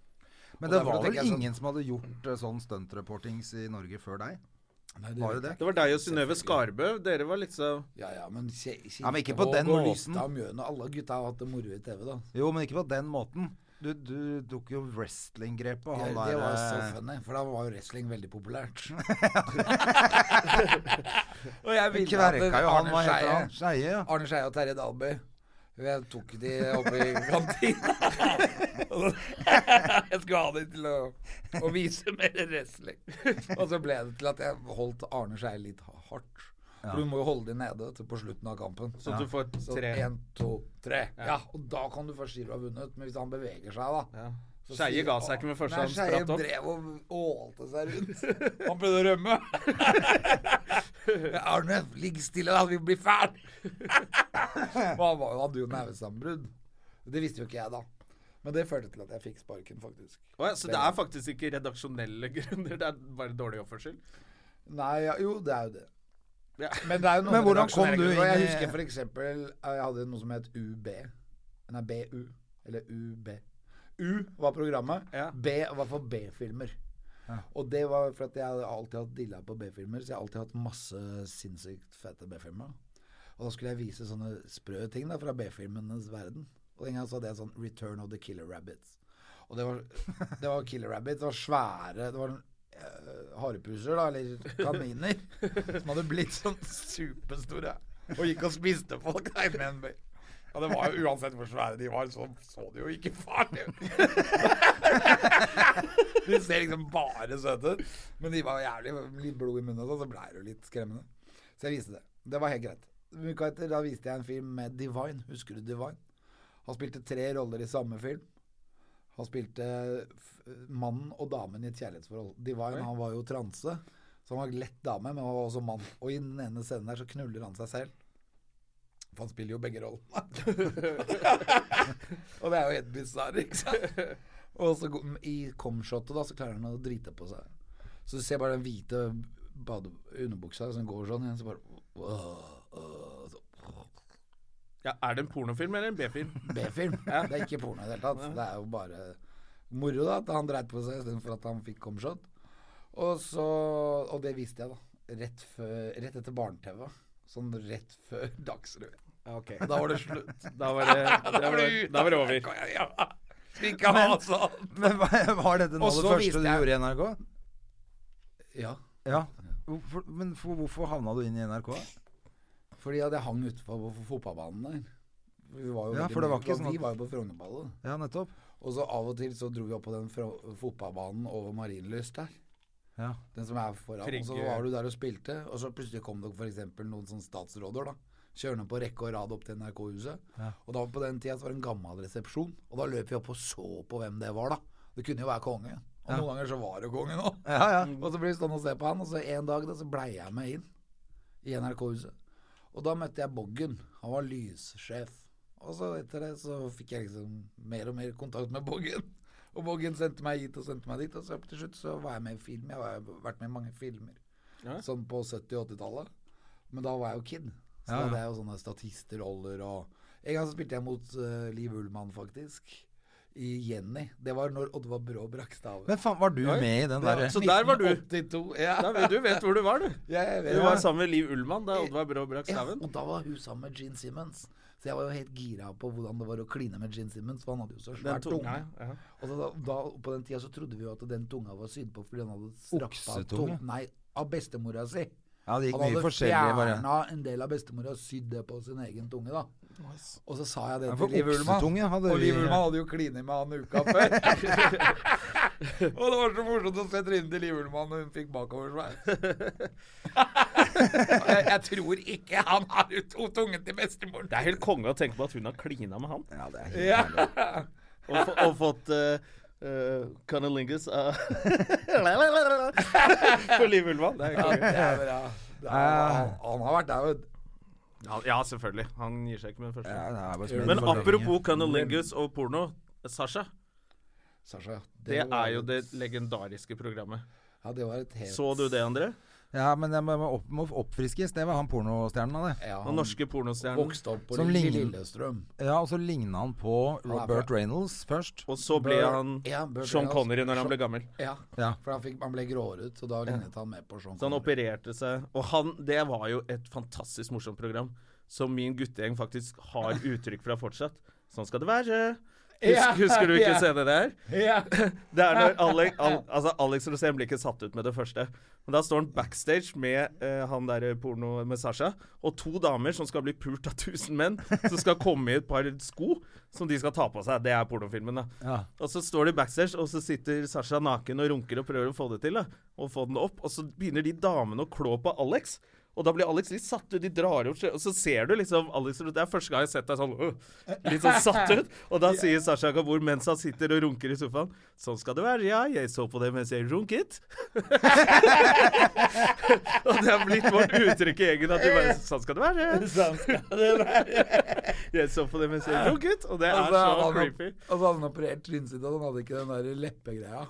Speaker 2: Men det
Speaker 3: Og derfor
Speaker 2: var vel
Speaker 3: tenker jeg sånn-
Speaker 2: ingen som hadde gjort eh, sånn stuntreportings i Norge før deg?
Speaker 3: Nei,
Speaker 2: Var
Speaker 3: vet
Speaker 2: det
Speaker 3: jeg
Speaker 2: det?
Speaker 1: Det var deg og Synnøve Skarbø. Dere var liksom
Speaker 3: Ja, ja, men, kje,
Speaker 2: Ja, men ikke på den
Speaker 3: og
Speaker 2: måten.
Speaker 3: Lystad, Mjøen og alle gutta har hatt det moro i TV, da.
Speaker 2: Jo, men ikke på den måten. Du, du tok jo wrestling-grepet.
Speaker 3: Ja,
Speaker 2: Han
Speaker 3: det
Speaker 2: der,
Speaker 3: var så
Speaker 2: eh,
Speaker 3: funny, for da var jo wrestling veldig populært. og
Speaker 2: Vi kverka jo han, hva heter han? Skeie, ja.
Speaker 3: Arne Skeie og Terje Dalby. Jeg tok de oppe i kantina. Og så- jeg skulle ha dem til å, å vise mer wrestling. Og så ble det til at jeg holdt Arne Skeie litt hardt. For du må jo holde dem nede til på slutten av kampen.
Speaker 1: Så du får
Speaker 3: Så
Speaker 1: tre.
Speaker 3: én, to, tre. Ja, og da kan du først si du har vunnet. Men hvis han beveger seg, da
Speaker 1: Ja.
Speaker 3: så
Speaker 1: Skeie
Speaker 3: sier-
Speaker 1: ga seg ikke med første
Speaker 3: Nei,
Speaker 1: han spratt opp.
Speaker 3: Skeie drev og ålte seg rundt. Han prøvde å rømme. Arne, ligg stille, da. Vi blir ferdig. Og han var, hadde jo nervesammenbrudd. Det visste jo ikke jeg, da. Men det førte til at jeg fikk sparken, faktisk.
Speaker 1: Å ja, så det er faktisk ikke redaksjonelle grunner, det er bare dårlig oppførsel?
Speaker 3: Nei, ja, jo, det er jo det.
Speaker 1: Ja.
Speaker 3: Men det er jo noen
Speaker 2: Men hvordan kom
Speaker 3: redaksjonelle
Speaker 2: du
Speaker 3: grunner, og
Speaker 2: inn
Speaker 3: Jeg
Speaker 2: i-
Speaker 3: husker for eksempel eh, jeg hadde noe som het UB. Nei, BU. Eller UB. U var programmet.
Speaker 1: Ja.
Speaker 3: B var for B-filmer. Og det var for at jeg hadde alltid hatt dilla på B-filmer, så jeg har alltid hatt masse sinnssykt fete B-filmer. Og da skulle jeg vise sånne sprø ting da, fra B-filmenes verden. Og en gang så hadde jeg sånn 'Return of the Killer Rabbits'. Og det var, det var Killer Rabbits, det var svære Det var eh, harepuser, da, eller kaniner, som hadde blitt sånn superstore. Og gikk og spiste folk der med en bøy. Og det var jo uansett hvor svære de var, så så det jo ikke farlig ut. De ser liksom bare søte ut. Men de var jævlig litt blod i munnen, og sånn, så blei det jo litt skremmende. Så jeg viste det. Det var helt greit. Uka etter da viste jeg en film med Divine. Husker du Divine? Han spilte tre roller i samme film. Han spilte f- mannen og damen i et kjærlighetsforhold. Divine han var jo transe, så han var lett dame, men han var også mann. Og i den ene scenen der så knuller han seg selv. For han spiller jo begge rollene. og det er jo helt bisarr, ikke sant? Og så go- i comshotet da, så klarer han å drite på seg. Så du ser bare den hvite bade underbuksa som går sånn igjen, så bare åh, åh, så,
Speaker 1: Ja, Er det en pornofilm eller en B-film?
Speaker 3: B-film. Det er ikke porno i det hele tatt. Det er jo bare moro da, at han dreit på seg istedenfor at han fikk comshot. Og, så, og det visste jeg, da. Rett, før, rett etter barne-TV. Sånn rett før Dagsrevyen.
Speaker 1: Ok.
Speaker 3: Da var det slutt.
Speaker 1: Da var det, da var det, da var det over.
Speaker 3: Ja. Skal ikke ha sånn.
Speaker 2: Men hva- var dette noe av det
Speaker 3: Og så
Speaker 2: første
Speaker 3: viste
Speaker 2: du
Speaker 3: jeg-
Speaker 2: gjorde i NRK?
Speaker 3: Ja,
Speaker 2: Ja. Hvorfor, men for, hvorfor havna du inn i NRK?
Speaker 3: fordi at jeg hang utenfor på fotballbanen der. Vi var jo
Speaker 2: Ja,
Speaker 3: veldig
Speaker 2: for det var
Speaker 3: mye-
Speaker 2: ikke sånn
Speaker 3: Vi
Speaker 2: at-
Speaker 3: var jo på Frognerballet.
Speaker 2: Ja, nettopp.
Speaker 3: Og så av og til så dro vi opp på den fro- fotballbanen over Marienlyst der.
Speaker 2: Ja.
Speaker 3: Den som er foran. Og så
Speaker 1: Trygge.
Speaker 3: var du der og spilte, og så plutselig kom det f.eks. noen sånne statsråder. da Kjørende på rekke og rad opp til NRK-huset. Og da på den tida så var det en gammel resepsjon, og da løp vi opp og så på hvem det var. da Det kunne jo være konge. Og noen ganger så var det kongen òg.
Speaker 2: Ja, ja.
Speaker 3: Og så ble vi stående og se på han, og så en dag da så blei jeg med inn i NRK-huset. Og da møtte jeg Boggen. Han var lyssjef. Og så etter det så fikk jeg liksom mer og mer kontakt med Boggen. Og Boggen sendte meg hit og sendte meg dit, og så til slutt så var jeg med i film. Jeg har jo vært med i mange filmer. Sånn på 70- og 80-tallet. Men da var jeg jo kid. Så da hadde jeg jo sånne statisterroller og En gang så spilte jeg mot eh, Liv Ullmann, faktisk. I Jenny. Det var når Oddvar Brå brakk staven.
Speaker 2: Men faen, var du med i den derre
Speaker 1: Så der var du.
Speaker 3: 1982, ja.
Speaker 1: Da, vet- du vet hvor du var, du.
Speaker 3: Ja, jeg vet
Speaker 1: Du var
Speaker 3: det.
Speaker 1: sammen med Liv Ullmann da Oddvar Brå brakk
Speaker 3: ja,
Speaker 1: staven.
Speaker 3: og da var hun sammen med Gene Simmons. Så jeg var jo helt gira på hvordan det var å kline med Gene Simmons, for han hadde jo så
Speaker 1: Den
Speaker 3: svær tunge.
Speaker 1: tunga, ja.
Speaker 3: Og da, da, på den tida så trodde vi jo at den tunga var sydd på fordi han hadde strappa av
Speaker 2: Oksetunge?
Speaker 3: tunga. Nei, av bestemora si.
Speaker 2: Ja, det gikk
Speaker 3: Han
Speaker 2: mye
Speaker 3: hadde
Speaker 2: forskjellige varianter.
Speaker 3: fjerna en del av bestemora og sydd det på sin egen tunge, da. Og så sa jeg det
Speaker 2: Ja, for
Speaker 3: til Liv
Speaker 2: oksetunge
Speaker 3: Ullmann.
Speaker 2: hadde
Speaker 3: Og
Speaker 2: vi-
Speaker 3: Liv Ullmann hadde jo klini med han uka før. og det var så morsomt å se trynet til Liv Ullmann når hun fikk bakoversveis. jeg, jeg tror ikke han har ut to tungen til bestemoren.
Speaker 1: Det er helt konge å tenke på at hun har klina med han.
Speaker 2: Ja, det er helt-
Speaker 3: Ja.
Speaker 1: Og, få- og fått uh, uh, Cunnilingus uh, For Liv Ullmann. Det er konge.
Speaker 3: Det er bra. Det er, han, Ah. han har vært der, vet du.
Speaker 1: Ja, ja, selvfølgelig. Han gir seg ikke med den første.
Speaker 2: Ja, det er bare smell
Speaker 1: Men
Speaker 2: for lenge.
Speaker 1: apropos cunnilingus og porno. Sasha,
Speaker 3: Sasha.
Speaker 1: det
Speaker 3: var
Speaker 1: er jo
Speaker 3: et-
Speaker 1: det legendariske programmet.
Speaker 3: Ja, det var et helt
Speaker 1: Så du det, André?
Speaker 2: Ja, men det må, må opp, må oppfriskes. Det var han pornostjernen av det.
Speaker 3: ja,
Speaker 1: Den
Speaker 3: Han
Speaker 1: norske pornostjernen.
Speaker 3: vokste opp på
Speaker 2: Som
Speaker 3: Lille
Speaker 2: ligner-
Speaker 3: Lillestrøm.
Speaker 2: Ja, og så ligna han på
Speaker 3: er
Speaker 2: Robert Reynolds først.
Speaker 1: Og så ble
Speaker 3: Burt-
Speaker 1: han altså-
Speaker 3: ja, Burt
Speaker 1: Sean
Speaker 3: Reynolds.
Speaker 1: Connery når han ble gammel.
Speaker 3: Ja,
Speaker 2: Ja.
Speaker 3: for han, fikk, han ble gråret, så da lignet han mer på sånn Sean
Speaker 1: Så han
Speaker 3: Connery.
Speaker 1: opererte seg. Og han, det var jo et fantastisk morsomt program. Som min guttegjeng faktisk har uttrykk fra fortsatt. Sånn skal det være.
Speaker 3: Ja,
Speaker 1: Husk, husker du ikke
Speaker 3: ja.
Speaker 1: scenen der?
Speaker 3: Ja.
Speaker 1: Det er når Alex, Al, altså Alex Rosén blir ikke satt ut med det første. Men da står han backstage med eh, han der porno med Sasha, og to damer som skal bli pult av 1000 menn, som skal komme i et par sko som de skal ta på seg. Det er pornofilmen, da.
Speaker 2: Ja.
Speaker 1: Og så står de backstage, og så sitter Sasha naken og runker og prøver å få det til. da, Og få den opp, og så begynner de damene å klå på Alex. Og da blir Alex litt satt ut. De drar opp skje- Og så ser du liksom Alex Det er første gang jeg har sett deg sånn øh, litt sånn satt ut. Og da sier Sasha Kabur mens han sitter og runker i sofaen Sånn skal det være, ja. Jeg så på det mens jeg runket. og det er blitt vårt uttrykk i gjengen at vi bare Sånn skal det være. Sånn skal det være. jeg så på det mens jeg runket. Og det er så
Speaker 3: Altså, han,
Speaker 1: creepy.
Speaker 3: og så hadde han operert trynet sitt, og han hadde ikke den der leppegreia.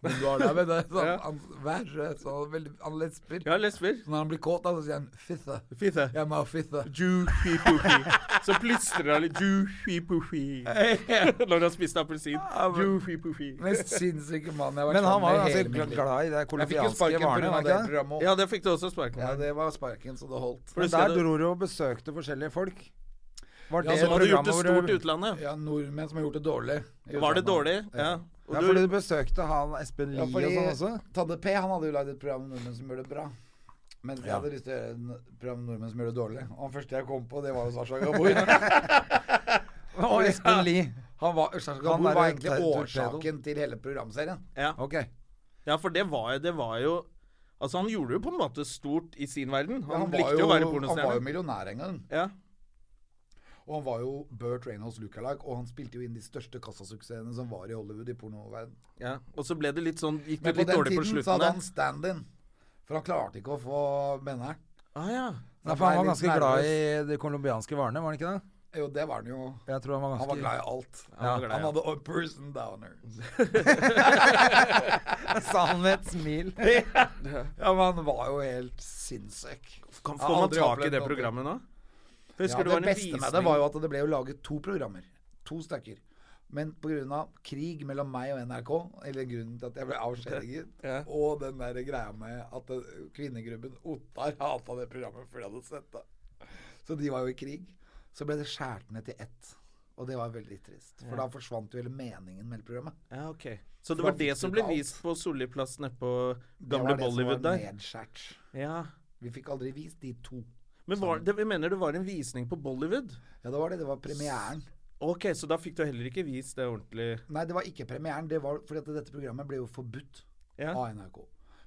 Speaker 3: Men du har det, men det er sånn, han verre, så han, er veldig, han lesper.
Speaker 1: Ja, lesber.
Speaker 3: Så når han blir kåt, da, så sier han 'fitte'.
Speaker 1: Fitte.
Speaker 3: Jeg må ha fitte.
Speaker 1: Juhi-puhi. Så plystrer han litt juhi-puhi når han spiste appelsin. Juhi-puhi.
Speaker 3: Mest sinnssyke mann jeg har vært
Speaker 2: Men han
Speaker 3: sammen
Speaker 2: var jo
Speaker 3: med hele
Speaker 2: altså
Speaker 3: mitt liv.
Speaker 2: glad i det
Speaker 3: Jeg fikk jo
Speaker 2: kolumbianske
Speaker 3: sparken
Speaker 2: varene,
Speaker 3: pga.
Speaker 2: var
Speaker 3: det
Speaker 2: det ikke det?
Speaker 3: programmet
Speaker 1: Ja,
Speaker 3: òg.
Speaker 1: det fikk du også sparken
Speaker 3: Ja,
Speaker 1: med.
Speaker 3: det var sparken, så det holdt.
Speaker 1: For
Speaker 2: Men
Speaker 1: du ser
Speaker 2: der
Speaker 1: det-
Speaker 2: dro du og besøkte forskjellige folk. Var
Speaker 1: Ja,
Speaker 2: det
Speaker 1: som hadde gjort
Speaker 2: programmet
Speaker 1: det
Speaker 2: hvor
Speaker 1: stort i
Speaker 2: du
Speaker 1: utlandet.
Speaker 3: Ja, nordmenn som har gjort det dårlig. i
Speaker 1: Var det
Speaker 3: utlandet.
Speaker 1: dårlig? Ja.
Speaker 2: Ja,
Speaker 1: Og
Speaker 2: fordi
Speaker 1: du,
Speaker 2: du besøkte han Espen Lie
Speaker 3: Ja, fordi
Speaker 2: og sånn også?
Speaker 3: Tadde P han hadde jo lagd et program om nordmenn som gjør det bra. Mens jeg hadde lyst til å gjøre et program om nordmenn som gjør det dårlig. Og han første jeg kom på, det var jo Sasha Gabor.
Speaker 2: Og Espen Lie.
Speaker 3: Han var, Sasha
Speaker 2: Han
Speaker 3: Gabor
Speaker 2: er en
Speaker 3: var egentlig
Speaker 2: torpedo.
Speaker 3: årsaken til hele programserien.
Speaker 1: ja.
Speaker 2: Ok.
Speaker 1: ja, for det var, jo- det var jo Altså, han gjorde det jo på en måte stort i sin verden. Han,
Speaker 3: var
Speaker 1: likte jo å være
Speaker 3: Han var jo
Speaker 1: pornostjerne.
Speaker 3: millionær en gang.
Speaker 1: Ja.
Speaker 3: Og han var jo Burt Reynolds lookalike, og han spilte jo inn de største kassasuksessene som var i Hollywood i pornoverdenen.
Speaker 1: ja. Og så ble det litt sånn Gikk det
Speaker 3: Men på
Speaker 1: litt
Speaker 3: den
Speaker 1: dårlig på
Speaker 3: tiden så
Speaker 1: slutten
Speaker 3: hadde
Speaker 1: der.
Speaker 3: han stand-in, for han klarte ikke å få benneren.
Speaker 1: Ah, ja.
Speaker 2: Nei, for han var
Speaker 3: Jeg er litt
Speaker 2: ganske glad i
Speaker 3: nervøs.
Speaker 2: de colombianske varene, var han ikke det?
Speaker 3: Jo, det var han jo.
Speaker 2: Jeg tror han var
Speaker 3: Han var
Speaker 2: ganske
Speaker 3: glad i alt.
Speaker 1: Han var glad i
Speaker 3: Han hadde a person downer.
Speaker 2: Sa han med et smil.
Speaker 3: Ja, men han var jo helt sinnssyk.
Speaker 1: Kan,
Speaker 3: Jeg
Speaker 1: får
Speaker 3: har
Speaker 1: man
Speaker 3: aldri
Speaker 1: tak i
Speaker 3: opplevd
Speaker 1: det
Speaker 3: noe.
Speaker 1: programmet nå? For
Speaker 3: Ja,
Speaker 1: Husker du
Speaker 3: det
Speaker 1: var en
Speaker 3: beste med det
Speaker 1: visning
Speaker 3: var jo at det ble jo laget to programmer. To stykker. Men pga. krig mellom meg og NRK, eller grunnen til at jeg ble avskjediget,
Speaker 1: Ja.
Speaker 3: og den der greia med at det- kvinnegrubben Ottar hata det programmet før de hadde sett det. Så de var jo i krig. Så ble det skåret ned til ett. Og det var veldig trist. For da forsvant jo hele meningen med hele programmet.
Speaker 1: Ja, ok. Så det
Speaker 3: For da
Speaker 1: var det
Speaker 3: fikk
Speaker 1: som
Speaker 3: du
Speaker 1: ble
Speaker 3: alt.
Speaker 1: vist på Solli plass nede på
Speaker 3: Det
Speaker 1: gamle
Speaker 3: var det som var
Speaker 1: Bollywood der?
Speaker 3: nedskjært.
Speaker 1: Ja.
Speaker 3: Vi fikk aldri vist de to.
Speaker 1: Men
Speaker 3: Sånn.
Speaker 1: var, det, jeg mener det var en visning på Bollywood?
Speaker 3: Ja, det var det. Det var premieren.
Speaker 1: Ok, så da fikk du heller ikke vist det ordentlig
Speaker 3: Nei, det var ikke premieren. Det var fordi at dette programmet ble jo forbudt
Speaker 1: Ja.
Speaker 3: av NRK.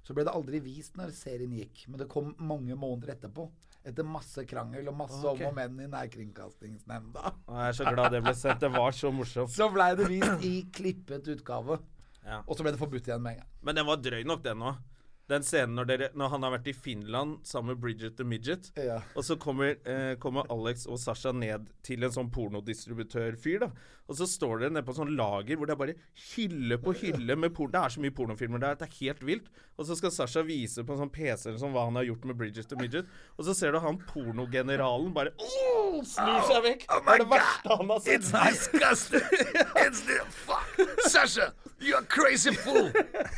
Speaker 3: Så ble det aldri vist når serien gikk, men det kom mange måneder etterpå. Etter masse krangel og masse
Speaker 1: Ok.
Speaker 3: om og men i nærkringkastingsnemnda.
Speaker 1: Å, Jeg er så glad det ble sendt. Det var så morsomt.
Speaker 3: Så blei det vist i klippet utgave.
Speaker 1: Ja.
Speaker 3: Og så ble det forbudt igjen med en gang.
Speaker 1: Men den var drøy nok, den òg. Den scenen når, dere, når han har vært i Finland sammen med Bridget the Midget,
Speaker 3: Ja.
Speaker 1: og så kommer, eh, kommer Alex og Sasha ned til en sånn pornodistributørfyr, da. Og så står dere nede på sånn lager hvor det er bare hylle på hylle med porno. Det er så mye pornofilmer der, det er helt vilt. Og så skal Sasha vise på en sånn PC eller sånn hva han har gjort med Bridget the Midget, og så ser du han pornogeneralen bare oh, snur seg vekk. det er det verste han har sett.
Speaker 3: disgusting! It's the fuck! Sasha, you're a crazy fool!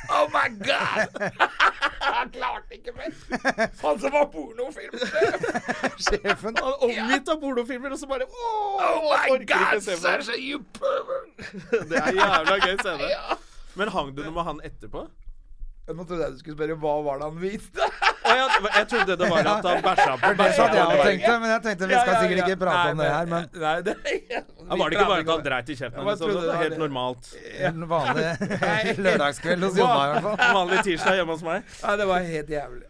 Speaker 3: Oh my god! Han klarte ikke mer! Han som var pornofilmsjef!
Speaker 2: Sjefen.
Speaker 1: Han er Omgitt av pornofilmer, og så bare Åh,
Speaker 3: Oh my
Speaker 1: orker ikke
Speaker 3: god,
Speaker 1: se på det.
Speaker 3: Serge, you pervert!
Speaker 1: Det er jævla gøy scene. Men hang du noe med han etterpå?
Speaker 3: Nå trodde jeg du skulle spørre hva var det han viste.
Speaker 1: Å, jeg, jeg trodde det var at han bæsja på
Speaker 2: Det
Speaker 1: bæsja
Speaker 2: satt
Speaker 1: på
Speaker 2: jeg og
Speaker 1: Norge.
Speaker 2: tenkte, men jeg tenkte vi skal sikkert ikke prate om det her, men
Speaker 3: Nei, det
Speaker 1: Ja, var det ikke bare at han dreit i kjeften?
Speaker 3: Ja, men jeg
Speaker 1: så
Speaker 3: trodde
Speaker 1: det
Speaker 3: det
Speaker 1: var
Speaker 3: var
Speaker 1: helt
Speaker 3: det.
Speaker 1: normalt.
Speaker 2: en vanlig lørdagskveld hos Jonna i hvert fall.
Speaker 1: Vanlig tirsdag hjemme hos meg.
Speaker 3: Nei, det var helt jævlig.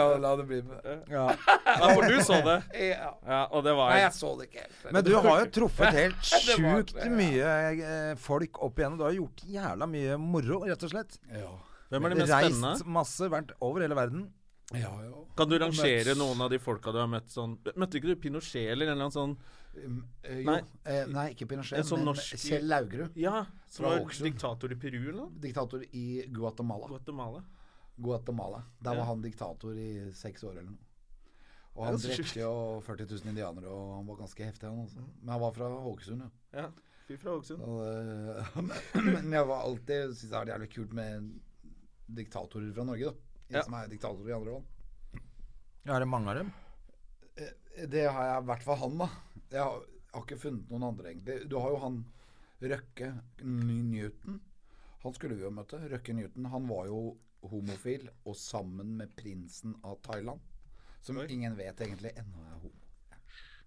Speaker 3: La, la det bli med det.
Speaker 2: Ja.
Speaker 1: Ja, for du så det.
Speaker 3: Ja.
Speaker 1: Ja, og det var
Speaker 3: Nei, jeg så det ikke helt.
Speaker 2: Men du har jo truffet helt
Speaker 3: var-
Speaker 2: sjukt mye eh, folk opp igjennom. Du har gjort jævla mye moro, rett og slett.
Speaker 1: Hvem er det mest spennende?
Speaker 2: Reist masse, vært over hele verden.
Speaker 3: ja, ja.
Speaker 1: Kan du rangere noen av de folka du har møtt sånn Møtte ikke du Pinochet eller en eller annen sånn
Speaker 3: Eh, jo,
Speaker 1: Nei.
Speaker 3: nei. Eh, nei, ikke Pinochet,
Speaker 1: En sånn
Speaker 3: men
Speaker 1: norsk-
Speaker 3: Kjell Laugrud.
Speaker 1: Ja, som
Speaker 3: Fra
Speaker 1: var
Speaker 3: Hokksund.
Speaker 1: diktator i Peru eller noe?
Speaker 3: Diktator i Guatemala.
Speaker 1: Guatemala.
Speaker 3: Guatemala. Der
Speaker 1: Ja.
Speaker 3: var han diktator i seks år eller noe. Og
Speaker 1: Ja,
Speaker 3: han
Speaker 1: så sjukt. Mm.
Speaker 3: drepte jo 40 000 indianere, og han var ganske heftig, han også. Men han var fra Haugesund, ja.
Speaker 1: Ja, fy fra Hokksund.
Speaker 3: Og, eh, Men jeg var alltid syntes det var jævlig kult med diktatorer fra Norge, da. Jeg
Speaker 1: Ja.
Speaker 3: som er diktator i andre land.
Speaker 2: Er det mange av dem?
Speaker 3: Det har jeg i hvert fall han, da. Jeg har, har ikke funnet noen andre, egentlig. Du har jo han Røkke Ny- Newton. Han skulle vi jo møte. Røkke Newton. Han var jo homofil og sammen med prinsen av Thailand. Som ingen vet egentlig ennå er homo.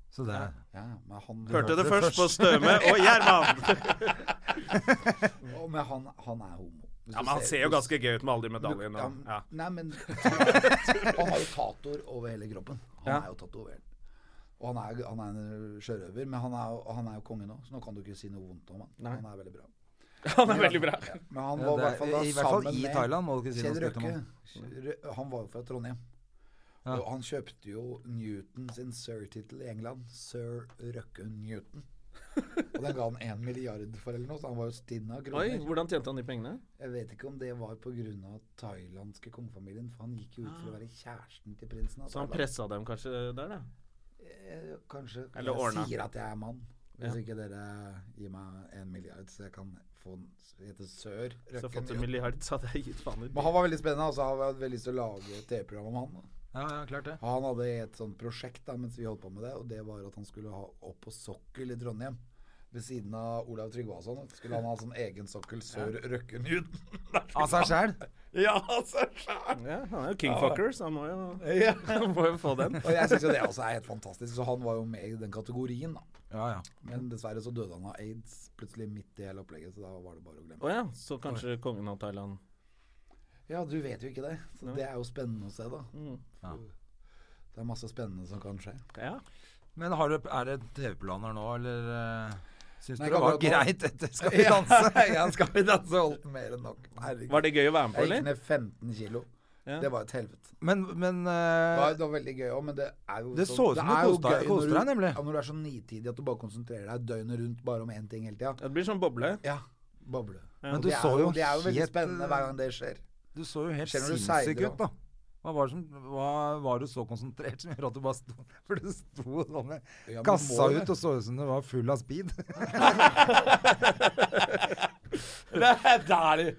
Speaker 2: Så det er
Speaker 3: Ja, men han,
Speaker 1: Hørte det først på Støme og Gjerman.
Speaker 3: Å, Men han, han er homo. Hvis
Speaker 1: Ja,
Speaker 3: du
Speaker 1: men han ser jo
Speaker 3: hvis-
Speaker 1: ganske gøy ut med alle de
Speaker 3: Ja,
Speaker 1: medaljene.
Speaker 3: men-
Speaker 1: Ja.
Speaker 3: Nei, men Han har jo tatoer over hele kroppen. Han
Speaker 1: Ja.
Speaker 3: er jo tatovert. Og han er, han er en sjørøver, men han er, jo- han er jo konge nå, så nå kan du ikke si noe vondt om han. Han er veldig bra.
Speaker 1: Han er veldig bra.
Speaker 3: Men han
Speaker 2: Ja,
Speaker 3: var
Speaker 2: det
Speaker 3: i
Speaker 2: er-
Speaker 3: hvert fall da
Speaker 2: i hvert fall
Speaker 3: sammen
Speaker 2: i
Speaker 3: med
Speaker 2: Thailand må du ikke si
Speaker 3: Kjell
Speaker 2: noe stygt om
Speaker 3: Røkke. Rø- Han var jo fra Trondheim. Og han kjøpte jo Newton sin sir-tittel i England. Sir Røkke Newton. Og den ga han én milliard for eller noe, så han var jo stinn av
Speaker 1: Oi,
Speaker 3: kroner.
Speaker 1: hvordan tjente han de pengene?
Speaker 3: Jeg vet ikke om det var pga. thailandske kongefamilien, for han gikk jo ut for å være kjæresten til prinsen. av
Speaker 1: Så han
Speaker 3: Thailand.
Speaker 1: pressa dem kanskje der, da?
Speaker 3: Eh, Kanskje.
Speaker 1: Eller
Speaker 3: jeg
Speaker 1: ordna.
Speaker 3: sier at jeg er mann. Hvis ikke dere gir meg en milliard, så jeg kan få en hete Sør
Speaker 1: Så
Speaker 3: Røkke
Speaker 1: fått en
Speaker 3: Newton.
Speaker 1: milliard, så hadde jeg gitt faen i
Speaker 3: Men han var veldig spennende, altså. Jeg hadde veldig lyst til å lage et TV-program om han. da.
Speaker 2: Ja, ja, klart det.
Speaker 3: Han hadde et sånt prosjekt da, mens vi holdt på med det, og det var at han skulle ha opp på sokkel i Trondheim. Ved siden av Olav Tryggvason skulle han ha sånn egen sokkel sør Røkke Newton.
Speaker 2: Av seg sjæl.
Speaker 3: ja, altså, skjær.
Speaker 1: Ja, han er jo kingfucker, så han må jo,
Speaker 3: ja.
Speaker 1: han må jo få den.
Speaker 3: Og jeg syns jo det også er helt fantastisk, så han var jo med i den kategorien, da.
Speaker 2: Ja, ja.
Speaker 3: Men dessverre så døde han av aids plutselig midt i hele opplegget, så da var det bare å glemme.
Speaker 1: Å ja, så kanskje kongen av Thailand
Speaker 3: Ja, du vet jo ikke det, så det er jo spennende å se, da.
Speaker 2: Ja.
Speaker 3: Det er masse spennende som kan skje.
Speaker 1: Ja.
Speaker 2: Men har du, er det TV-planer nå, eller uh, syns
Speaker 3: Nei,
Speaker 2: du det var
Speaker 3: akkurat nå-
Speaker 2: greit etter Skal vi danse?
Speaker 3: ja, skal vi danse holdt den mer enn nok. Herregud.
Speaker 1: Var det gøy å være med på,
Speaker 3: Jeg gikk
Speaker 1: eller?
Speaker 3: ned 15 kilo.
Speaker 1: Ja.
Speaker 3: Det var et helvete.
Speaker 2: Men, men
Speaker 3: Det
Speaker 2: eh,
Speaker 3: var, det var veldig gøy òg, men det er jo
Speaker 2: Det
Speaker 3: sånn-
Speaker 2: så ut som du
Speaker 3: er jo
Speaker 2: koste deg-
Speaker 3: gøy når
Speaker 2: koste deg,
Speaker 3: du-
Speaker 2: nemlig.
Speaker 3: Ja, når du er så nitidig at du bare konsentrerer deg døgnet rundt bare om én ting hele tida.
Speaker 1: Ja, det blir sånn boble.
Speaker 3: Ja. Boble.
Speaker 2: Men
Speaker 3: Og
Speaker 2: du
Speaker 3: det er
Speaker 2: så jo
Speaker 3: Det er jo veldig
Speaker 2: helt,
Speaker 3: spennende
Speaker 2: eh,
Speaker 3: hver gang det skjer.
Speaker 2: Du så jo helt
Speaker 3: Selv når du
Speaker 2: sinnssyk
Speaker 3: seiler
Speaker 2: ut, da. Hva var, det som, hva var du så konsentrert som gjorde at du bare sto For du sto sånn med
Speaker 3: Ja, men
Speaker 2: kassa
Speaker 3: må det.
Speaker 2: ut og så ut som du var full av speed.
Speaker 1: Det er deilig!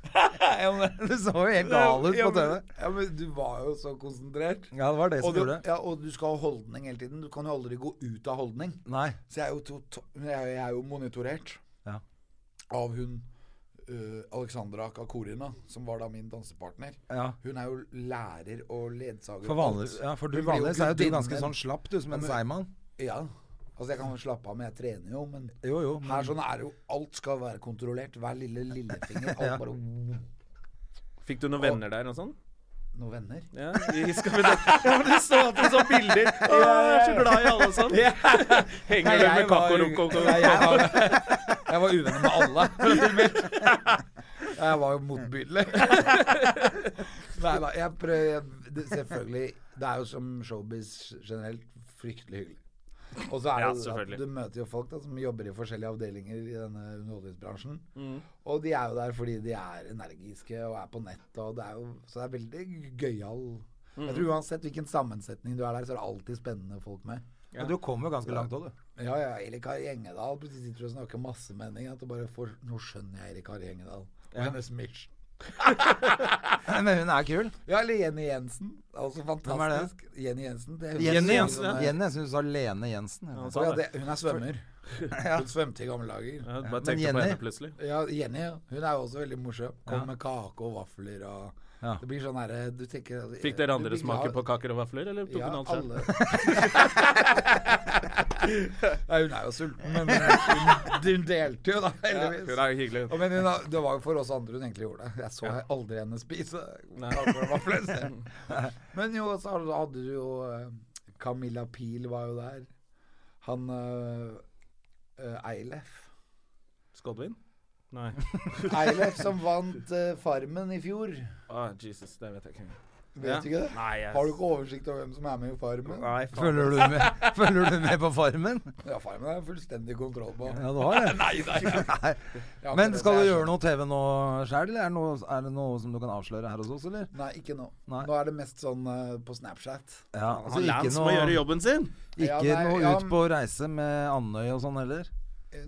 Speaker 2: Du så jo helt gal ut
Speaker 3: ja,
Speaker 2: på TV.
Speaker 3: men, ja, men du var jo så konsentrert.
Speaker 2: Ja, det var det som
Speaker 3: Og du,
Speaker 2: gjorde det.
Speaker 3: ja, og du skal ha holdning hele tiden. Du kan jo aldri gå ut av holdning.
Speaker 2: Nei.
Speaker 3: Så jeg er jo, to, to, jeg, jeg er jo monitorert
Speaker 2: Ja.
Speaker 3: av hun eh, Alexandra Kakorina, som var da min dansepartner.
Speaker 2: Ja.
Speaker 3: Hun er jo lærer og ledsager.
Speaker 2: For vanligvis, ja, for du, vanligvis er jo du ganske sånn slapp, du, som en seigmann.
Speaker 3: Ja. Altså, jeg kan jo slappe av, men jeg trener jo. Men
Speaker 2: Jo, jo. Men,
Speaker 3: her sånn er det jo Alt skal være kontrollert. Hver lille lillefinger. Alt bare
Speaker 1: Fikk du noen venner der og sånn?
Speaker 3: Noen venner.
Speaker 1: Ja, i Skal vi danse? Ja, men du så at du så bilder! Å, jeg er så glad i alle og sånn! Henger du med kakko runko?
Speaker 3: Nei, jeg var, jeg var uvenner med alle. Jeg var jo motbydelig. Nei da, jeg prøver det, Selvfølgelig, det er jo som showbiz generelt fryktelig hyggelig. Og så er
Speaker 1: Ja,
Speaker 3: det jo
Speaker 1: selvfølgelig.
Speaker 3: at du møter jo folk da, som jobber i forskjellige avdelinger i denne underholdningsbransjen.
Speaker 1: Mm.
Speaker 3: Og de er jo der fordi de er energiske og er på nett, og det er jo, så det
Speaker 1: Mm.
Speaker 3: er veldig gøyal. Jeg tror uansett hvilken sammensetning du er der, så er det alltid spennende folk med.
Speaker 2: Men du kom jo ganske langt òg, du.
Speaker 3: Ja, ja, Eirik Harry Gjengedal plutselig sitter du og snakker masse mening. At du bare får Nå skjønner jeg Eirik Harry Gjengedal. Og Hennes mission.
Speaker 2: Men hun er kul.
Speaker 3: Ja, eller Jenny Jensen. Altså
Speaker 2: er det?
Speaker 3: fantastisk. Jenny Jensen. Det er
Speaker 1: Jenny
Speaker 3: hun
Speaker 1: Jensen, Sånn,
Speaker 3: som er-
Speaker 2: Jenny, jeg syns du sa Lene Jensen.
Speaker 1: Han
Speaker 3: Å,
Speaker 1: sa
Speaker 3: ja,
Speaker 1: det.
Speaker 3: det, hun er svømmer. Hun svømte i gamle dager.
Speaker 1: Jeg bare
Speaker 2: men
Speaker 1: tenkte på
Speaker 2: Jenny-
Speaker 1: henne plutselig.
Speaker 3: Ja, Jenny ja. hun er jo også veldig morsom. Kommer med kake og vafler og
Speaker 2: Ja.
Speaker 3: Det blir sånn herre Du tenker
Speaker 1: Fikk dere
Speaker 3: du
Speaker 1: andre
Speaker 3: blir
Speaker 1: smake
Speaker 3: glad-
Speaker 1: på kaker og vafler, eller tok
Speaker 3: Ja,
Speaker 1: hun alt selv?
Speaker 3: alle. Nei, hun er jo sulten, men hun, hun delte jo, da, heldigvis.
Speaker 1: Hun er jo hyggelig.
Speaker 3: Ja,
Speaker 1: hun.
Speaker 3: men hun, har- det var jo for oss andre hun egentlig gjorde det. Jeg så aldri henne spise. kaker og vafler, så. Men jo, så hadde- hadde du jo eh, Camilla Pil var jo der. Han eh, eh, Eilef.
Speaker 1: Skodvin? Nei.
Speaker 3: Eilef som vant eh, Farmen i fjor.
Speaker 1: Ah, Jesus, det vet jeg ikke.
Speaker 3: Vet du ikke det?
Speaker 1: Nei, jeg...
Speaker 3: Har du ikke oversikt over hvem som er med i Farmen?
Speaker 1: Nei, faen.
Speaker 2: Følger du med, følger du med på Farmen?
Speaker 3: Ja, Farmen har jeg fullstendig kontroll på.
Speaker 2: Ja, du har det. Nei.
Speaker 3: Ja,
Speaker 2: Men
Speaker 3: det-
Speaker 2: skal du
Speaker 3: det er
Speaker 2: gjøre
Speaker 3: sånn-
Speaker 2: noe TV nå sjøl, eller er det, noe, er det noe som du kan avsløre her hos oss, eller?
Speaker 3: Nei, ikke nå.
Speaker 2: Nei.
Speaker 3: Nå er det mest sånn eh, på Snapchat.
Speaker 2: Ja,
Speaker 1: Han Altså, Lance må gjøre jobben sin!
Speaker 2: Altså, ikke
Speaker 3: Ja, nei,
Speaker 2: noe
Speaker 3: ja,
Speaker 2: ut på reise med Andøy og sånn heller?
Speaker 3: Eh,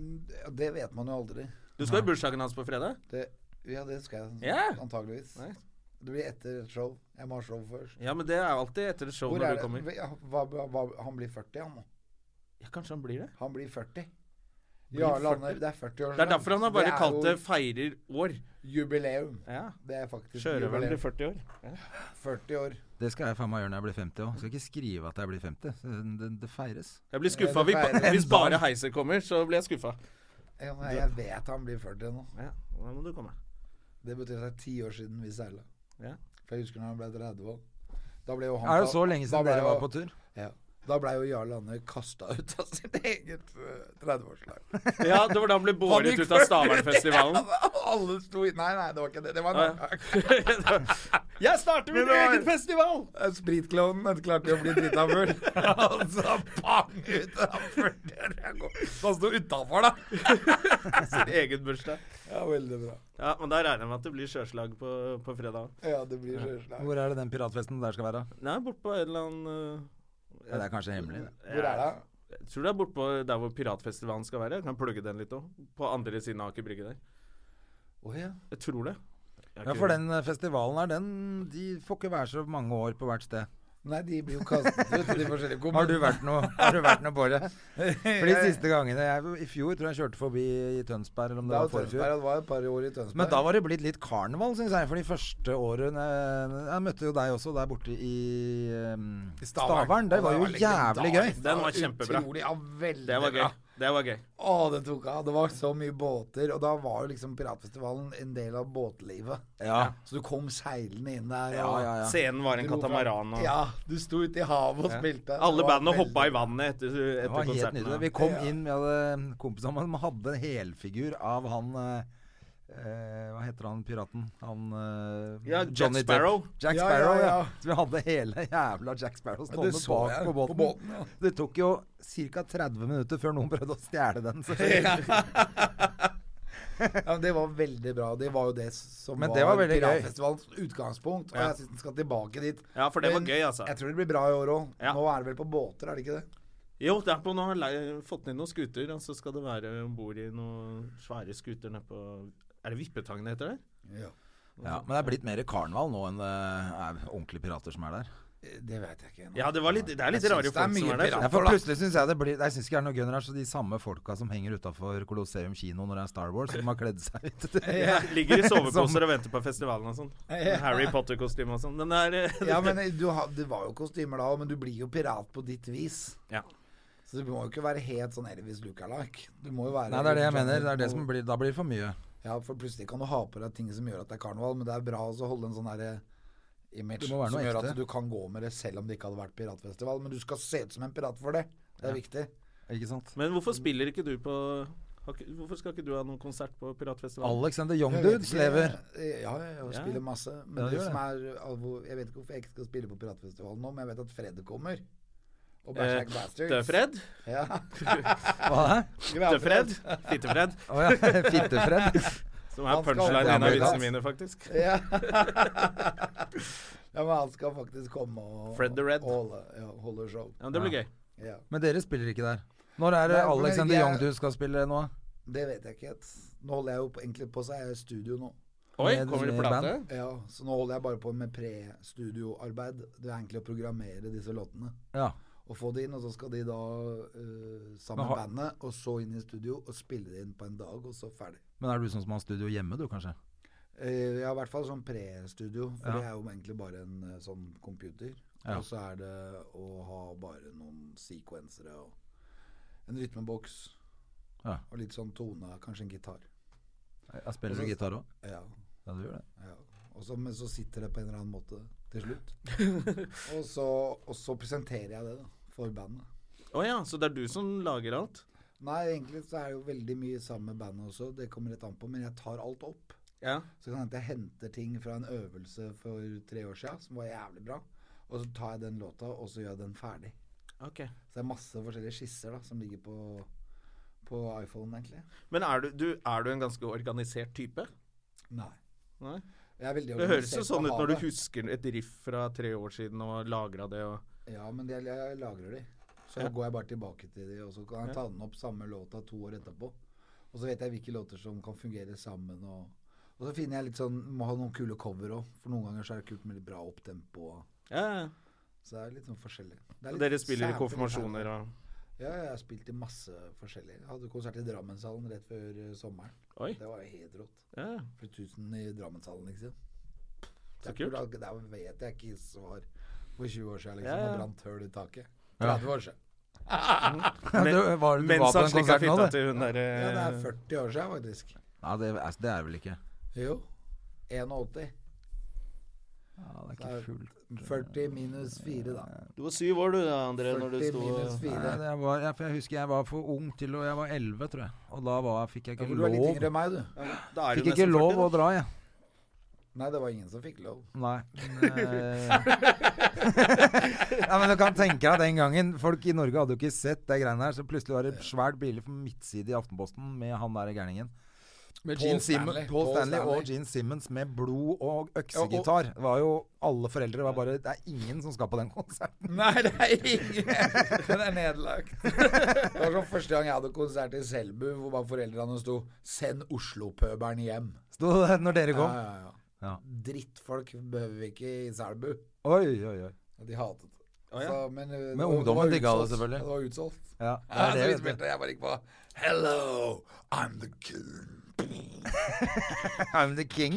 Speaker 3: Det vet man jo aldri.
Speaker 1: Du skal i bursdagen hans på fredag.
Speaker 3: Det, ja, det skal jeg
Speaker 1: Ja.
Speaker 3: antageligvis.
Speaker 1: Nice.
Speaker 3: Det blir etter et show. Jeg må ha show først.
Speaker 1: Ja, men det er alltid etter et show
Speaker 3: Hvor
Speaker 1: når
Speaker 3: er
Speaker 1: du kommer.
Speaker 3: det? Ja, Hva, hva, hva, han blir 40, han nå.
Speaker 1: Ja, Kanskje han blir det?
Speaker 3: Han blir 40. Jarle
Speaker 1: 40?
Speaker 3: Ander, det er 40 år
Speaker 1: Det er derfor han har bare
Speaker 3: er
Speaker 1: kalt
Speaker 3: jo
Speaker 1: det 'feirer år'.
Speaker 3: jubileum.
Speaker 1: Ja.
Speaker 3: Det er faktisk
Speaker 1: Sjørøveren blir 40
Speaker 3: jubileum.
Speaker 1: år.
Speaker 3: 40 år.
Speaker 2: Det skal jeg faen meg gjøre når jeg blir 50 òg. Skal ikke skrive at jeg blir 50. Så eh, Det, det feires.
Speaker 1: Jeg blir skuffa
Speaker 3: det feirer
Speaker 1: hvis bare Heiser kommer, så blir jeg skuffa.
Speaker 3: Ja, men jeg vet han blir 40 nå.
Speaker 1: Ja, da må du komme.
Speaker 3: Det betyr at det er ti år siden vi seila.
Speaker 1: Ja.
Speaker 3: For jeg husker når han ble 30 år. Da ble jo han
Speaker 2: Er det
Speaker 3: ta-
Speaker 2: så lenge
Speaker 3: da
Speaker 2: siden
Speaker 3: ble
Speaker 2: dere
Speaker 3: jo-
Speaker 2: var på tur?
Speaker 3: Ja. Da blei jo Jarl Ander kasta ut av sitt eget eh, 30-årslag.
Speaker 1: Ja, det var da han ble båret ut av Stavernfestivalen.
Speaker 3: Alle sto i Nei, nei, det var ikke det. Det var en annen gang.
Speaker 1: Jeg starter min egen festival!
Speaker 3: Eh, Spritklovnen den klarte jo å bli drita full. Og så pang ut av Han sto utafor, da.
Speaker 1: Sin egen bursdag.
Speaker 3: Ja, veldig bra.
Speaker 1: Ja, men da regner jeg med at det blir sjøslag på, på fredag.
Speaker 3: Ja, det blir sjøslag.
Speaker 2: Hvor er det den piratfesten der skal være?
Speaker 1: Nei, bortpå en eller annen eh,
Speaker 2: Ja, det er kanskje hemmelig, det.
Speaker 3: Hvor er det?
Speaker 1: Jeg tror det er bortpå der hvor piratfestivalen skal være. Jeg kan plugge den litt òg. På andre siden av Aker Brygge der.
Speaker 3: Å ja.
Speaker 1: Jeg tror det. Jeg har
Speaker 2: Ja,
Speaker 1: ikke-
Speaker 2: for den eh, festivalen her, den De får ikke være så mange år på hvert sted.
Speaker 3: Nei, de blir jo kastet ut i de forskjellige
Speaker 2: Har du
Speaker 3: kommunene.
Speaker 2: vært noe, har du vært noe Båre? For de siste gangene jeg, I fjor tror jeg kjørte forbi i Tønsberg, eller om det
Speaker 3: Da
Speaker 2: var forfjor.
Speaker 3: Tønsberg, det var et par år i Tønsberg.
Speaker 2: Men da var det blitt litt karneval, syns jeg. For de første årene Jeg møtte jo deg også der borte i eh,
Speaker 3: I
Speaker 2: Stavern. Det
Speaker 3: Og
Speaker 2: var jo jævlig gøy.
Speaker 3: legendarisk.
Speaker 1: Den var kjempebra.
Speaker 3: Utrolig, ja, veldig
Speaker 1: Det var gøy.
Speaker 3: bra.
Speaker 1: Det var gøy.
Speaker 3: Å, det tok av. Det var så mye båter, og da var jo liksom piratfestivalen en del av båtlivet.
Speaker 2: Ja,
Speaker 3: Så du kom seilende inn der.
Speaker 2: ja,
Speaker 3: og
Speaker 2: ja. ja.
Speaker 1: Scenen var en
Speaker 3: dro fra-
Speaker 1: katamaran. Og...
Speaker 3: Ja, du sto ute i havet og spilte.
Speaker 1: Alle
Speaker 3: Det var
Speaker 1: bandene hoppa
Speaker 3: veldig-
Speaker 1: i vannet etter,
Speaker 2: Det var
Speaker 1: etter
Speaker 2: helt
Speaker 1: konserten.
Speaker 2: nydelig. Vi kom inn, vi hadde kompiser av meg som hadde en helfigur av han eh, eh, Hva heter han piraten? Han eh,
Speaker 1: Ja, Jack
Speaker 2: Johnny Depp.
Speaker 1: Sparrow.
Speaker 2: Jack
Speaker 3: Ja, ja,
Speaker 2: Sparrow, ja.
Speaker 3: ja.
Speaker 2: Så vi hadde hele jævla Jack Sparrow
Speaker 3: Ja, det
Speaker 2: stående
Speaker 3: så
Speaker 2: bak
Speaker 3: jeg
Speaker 2: på båten.
Speaker 3: på båten, ja.
Speaker 2: Det tok jo ca. 30 minutter før noen prøvde å stjele den. Så.
Speaker 3: Ja, men det var veldig bra. Det var jo det som
Speaker 2: Men
Speaker 3: var,
Speaker 2: det var veldig gøy.
Speaker 3: piratfestivalens utgangspunkt. Og jeg syns den skal tilbake dit.
Speaker 1: Ja, for det var
Speaker 3: Men
Speaker 1: gøy, altså.
Speaker 3: Jeg tror det blir bra i år òg.
Speaker 1: Ja.
Speaker 3: Nå er det vel på båter, er det ikke det?
Speaker 1: Jo, det er på nå har lei- fått ned noen skuter, og så skal det være om bord i noen svære skuter nede på Er det Vippetangen det heter der?
Speaker 2: Ja, men det er blitt mer karneval nå enn det er ordentlige pirater som er der.
Speaker 3: Eh, Det vet jeg ikke ennå.
Speaker 1: Ja, det, var litt, det er litt rare
Speaker 3: det er
Speaker 1: folk som
Speaker 3: mye
Speaker 1: er der.
Speaker 2: Ja,
Speaker 1: så-
Speaker 2: for plutselig synes jeg det blir Jeg syns ikke det er noe gøy når det er så de samme folka som henger utafor Colosseum kino når det er Star Wars, som har kledd seg ut.
Speaker 1: Ja, ligger i
Speaker 2: Som-
Speaker 1: soveposer og venter på festivalen og sånn. Med Harry Potter-kostyme og sånn. Den er eh,
Speaker 3: Ja, men du har, Det var jo kostymer da òg, men du blir jo pirat på ditt vis.
Speaker 1: ja.
Speaker 3: Så du må jo ikke være helt sånn Elvis Lukalak. Du må jo være
Speaker 2: Nei, det er det jeg mener. Det er det som blir, da blir det for mye.
Speaker 3: Ja, for plutselig kan du ha på deg ting som gjør at det er karneval, men det er bra også å holde en sånn derre image
Speaker 2: Det
Speaker 3: som
Speaker 2: må være noe
Speaker 3: gjør
Speaker 2: ekte.
Speaker 3: at du kan gå med det selv om det ikke hadde vært piratfestival. Men du skal se ut som en pirat for det. Det er viktig.
Speaker 2: Ikke sant?
Speaker 1: Men hvorfor spiller ikke du på har ikke- Hvorfor skal ikke du ha noen konsert på piratfestivalen?
Speaker 2: Alexander Young Dudes lever.
Speaker 3: eh, Ja, ja, jeg spiller masse. Men
Speaker 2: Ja,
Speaker 3: det
Speaker 2: gjør
Speaker 3: som er alvor- Jeg vet ikke hvorfor jeg ikke skal spille på piratfestivalen nå, men jeg vet at Fred kommer. Og
Speaker 1: Eh,
Speaker 3: Bashak Bastards.
Speaker 1: Døfred?
Speaker 3: Ja.
Speaker 2: Hva er det?
Speaker 1: Døfred? Fittefred?
Speaker 2: Å ja, Fittefred.
Speaker 1: Som er
Speaker 3: Han skal
Speaker 1: punchline i en av
Speaker 3: opp-
Speaker 1: vitsene mine, faktisk.
Speaker 3: Ja. ja, men han skal faktisk komme og
Speaker 1: Fred the Red.
Speaker 3: og holde, ja, holde show.
Speaker 1: Ja, men Det blir gøy.
Speaker 3: Ja.
Speaker 2: Men dere spiller ikke der. Når er det
Speaker 3: Nei, for
Speaker 2: Alexander
Speaker 3: jeg-
Speaker 2: Young du skal spille nå?
Speaker 3: Det vet jeg ikke. Nå holder jeg jo på- egentlig på seg i studio nå.
Speaker 1: Oi,
Speaker 2: Med-
Speaker 1: kommer det
Speaker 2: med
Speaker 1: plate?
Speaker 2: band?
Speaker 3: Ja, så nå holder jeg bare på med pre-studioarbeid. Det er egentlig å programmere disse låtene.
Speaker 2: Ja.
Speaker 3: Og få det inn, og så skal de da eh, sammen
Speaker 2: Men har-
Speaker 3: med bandet, og så inn i studio og spille det inn på en dag, og så ferdig.
Speaker 2: Men er du sånn som har studio hjemme, du, kanskje?
Speaker 3: Eh, ja, i hvert fall sånn pre-studio, for
Speaker 2: Ja.
Speaker 3: det er jo egentlig bare en eh, sånn computer.
Speaker 2: Ja.
Speaker 3: Og så er det å ha bare noen sequensere og en rytmeboks.
Speaker 2: Ja.
Speaker 3: Og litt sånn tone, kanskje en gitar.
Speaker 2: Jeg spiller du gitar òg?
Speaker 3: Ja.
Speaker 2: Ja, du gjør det.
Speaker 3: Ja. Og så, men så sitter det på en eller annen måte til slutt. og, så, og så presenterer jeg det da, for bandet.
Speaker 1: Å ja, så det er du som lager alt?
Speaker 3: Nei, egentlig så er det jo veldig mye sammen med bandet også, det kommer litt an på, men jeg tar alt opp.
Speaker 1: Ja.
Speaker 3: Så kan det hende jeg henter ting fra en øvelse for tre år siden, som var jævlig bra, og så tar jeg den låta, og så gjør jeg den ferdig.
Speaker 1: Ok.
Speaker 3: Så det er masse forskjellige skisser da, som ligger på, på iPhone, egentlig.
Speaker 1: Men er du, du, er du en ganske organisert type?
Speaker 3: Nei.
Speaker 1: Nei?
Speaker 3: Jeg er
Speaker 1: Det
Speaker 3: veldig
Speaker 1: høres jo
Speaker 3: organisert på
Speaker 1: sånn ut når
Speaker 3: havet.
Speaker 1: du husker et riff fra tre år siden og lagra det og
Speaker 3: Ja, men jeg, jeg lagrer de. Så går jeg bare tilbake til de, og så kan jeg ta den opp samme låta to år etterpå. Og så vet jeg hvilke låter som kan fungere sammen. Og, og så finner jeg litt sånn Må ha noen kule cover òg, for noen ganger så er det kult med litt bra opptempo. og-
Speaker 1: Ja, ja.
Speaker 3: Så det er litt sånn forskjellig. Det er
Speaker 1: Og
Speaker 3: litt
Speaker 1: Dere spiller i
Speaker 3: sært
Speaker 1: konfirmasjoner
Speaker 3: her.
Speaker 1: og
Speaker 3: Ja, jeg har spilt i masse forskjellig. Jeg hadde konsert i Drammenshallen rett før eh, sommeren.
Speaker 1: Oi.
Speaker 3: Det var jo helt rått.
Speaker 1: Ja, ja.
Speaker 3: For 1000 i Drammenshallen, liksom. Det
Speaker 1: Så
Speaker 3: er
Speaker 1: kult.
Speaker 3: kult. Der vet jeg ikke svar for 20 år siden, liksom.
Speaker 1: Ja, ja.
Speaker 3: Og brant høl i taket. 30 år siden.
Speaker 2: Men, du, var, du
Speaker 1: Mens
Speaker 2: var på
Speaker 1: han
Speaker 2: en
Speaker 1: slikka
Speaker 2: konsert nå,
Speaker 1: fitta
Speaker 2: du?
Speaker 1: til hun der
Speaker 3: Ja, det er
Speaker 1: eh,
Speaker 3: 40 år siden, faktisk.
Speaker 2: Nei, det, er- det er vel ikke
Speaker 3: Jo. 81.
Speaker 2: ja, Det er
Speaker 3: Det
Speaker 2: ikke
Speaker 3: er
Speaker 2: fullt
Speaker 3: 40 minus 4, da.
Speaker 1: Du var syv år du da, André, Eh, når du
Speaker 3: 40
Speaker 1: sto
Speaker 3: minus
Speaker 1: og-
Speaker 3: 4.
Speaker 2: Nei, det var, jeg, for jeg husker jeg var for ung til å Jeg var 11, tror jeg. Og da var, fikk jeg
Speaker 3: Ja,
Speaker 2: ikke
Speaker 3: for du er litt
Speaker 2: lov
Speaker 3: yngre enn meg, du.
Speaker 1: Da er du
Speaker 2: Fikk
Speaker 1: nesten
Speaker 2: ikke lov
Speaker 1: 40 da.
Speaker 2: å dra, jeg.
Speaker 3: Nei, det var ingen som fikk lov.
Speaker 2: Nei. Men, eh, Nei, men du kan tenke deg den gangen. Folk i Norge hadde jo ikke sett de greiene her. Så plutselig var det svært bilde på midtside i Aftenposten med han der gærningen. Gene Simmons- Paul Stanley og Gene Simmons med blod og øksegitar. Det var jo Alle foreldre var bare Det er ingen som skal på den konserten.
Speaker 3: Nei, det er ingen. Den er nedlagt. Det var sånn første gang jeg hadde konsert i Selbu, hvor bare foreldrene sto 'Send Oslo-pøbelen hjem'.
Speaker 2: Sto det når dere
Speaker 3: Ja,
Speaker 2: kom.
Speaker 3: ja, ja.
Speaker 2: Ja.
Speaker 3: Drittfolk behøver vi ikke i Selbu.
Speaker 2: Oi, oi, oi.
Speaker 3: Og De hatet det.
Speaker 1: ja.
Speaker 3: Så, men, uh, det
Speaker 2: Men
Speaker 3: var-
Speaker 2: ungdommen
Speaker 3: var
Speaker 2: digga det
Speaker 3: utsolgt.
Speaker 2: selvfølgelig.
Speaker 3: Ja, Det var utsolgt.
Speaker 2: Ja,
Speaker 3: Ja,
Speaker 2: det
Speaker 3: så vi
Speaker 2: er det.
Speaker 3: spilte, jeg bare gikk på Hello, I'm the king.
Speaker 2: I'm the king.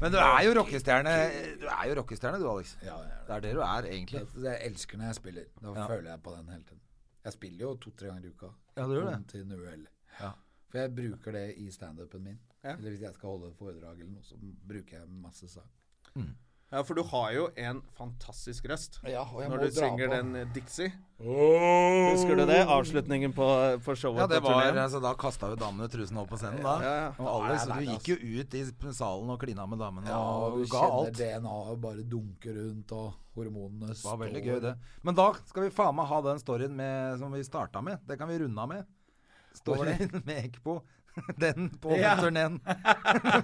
Speaker 2: Men du er jo rockestjerne, du, er jo rockestjerne, du Alex.
Speaker 3: Ja, jeg er det.
Speaker 2: Det er det du er, egentlig.
Speaker 3: Det- Jeg elsker når jeg spiller. Da føler jeg på den hele tiden. Jeg spiller jo to-tre ganger i uka.
Speaker 2: Ja, du gjør det.
Speaker 3: Kontinuerlig.
Speaker 2: Ja.
Speaker 3: For jeg bruker det i standupen min. Eller hvis jeg skal holde et foredrag eller noe, så bruker jeg masse sang.
Speaker 1: Ja, for du har jo en fantastisk røst
Speaker 3: Ja, og jeg
Speaker 1: når
Speaker 3: må
Speaker 1: du
Speaker 3: dra
Speaker 1: synger
Speaker 3: på.
Speaker 1: den eh, Dixie. Husker du det? Avslutningen på, på showet
Speaker 2: Ja, det
Speaker 1: på
Speaker 2: var,
Speaker 1: turneen.
Speaker 2: altså, Da kasta jo damene trusen opp på scenen, da.
Speaker 1: Ja, ja.
Speaker 2: Og Alex, du gikk jo ut i salen og klina med damene
Speaker 3: Ja, og
Speaker 2: og
Speaker 3: du
Speaker 2: ga
Speaker 3: kjenner
Speaker 2: alt.
Speaker 3: DNA-et bare dunke rundt, og hormonene
Speaker 2: Det var
Speaker 3: står
Speaker 2: veldig gøy, det. Men da skal vi faen meg ha den storyen med, som vi starta med. Det kan vi runde av med. Storyen med Ekpo. Den på
Speaker 3: Ja.
Speaker 2: turneen.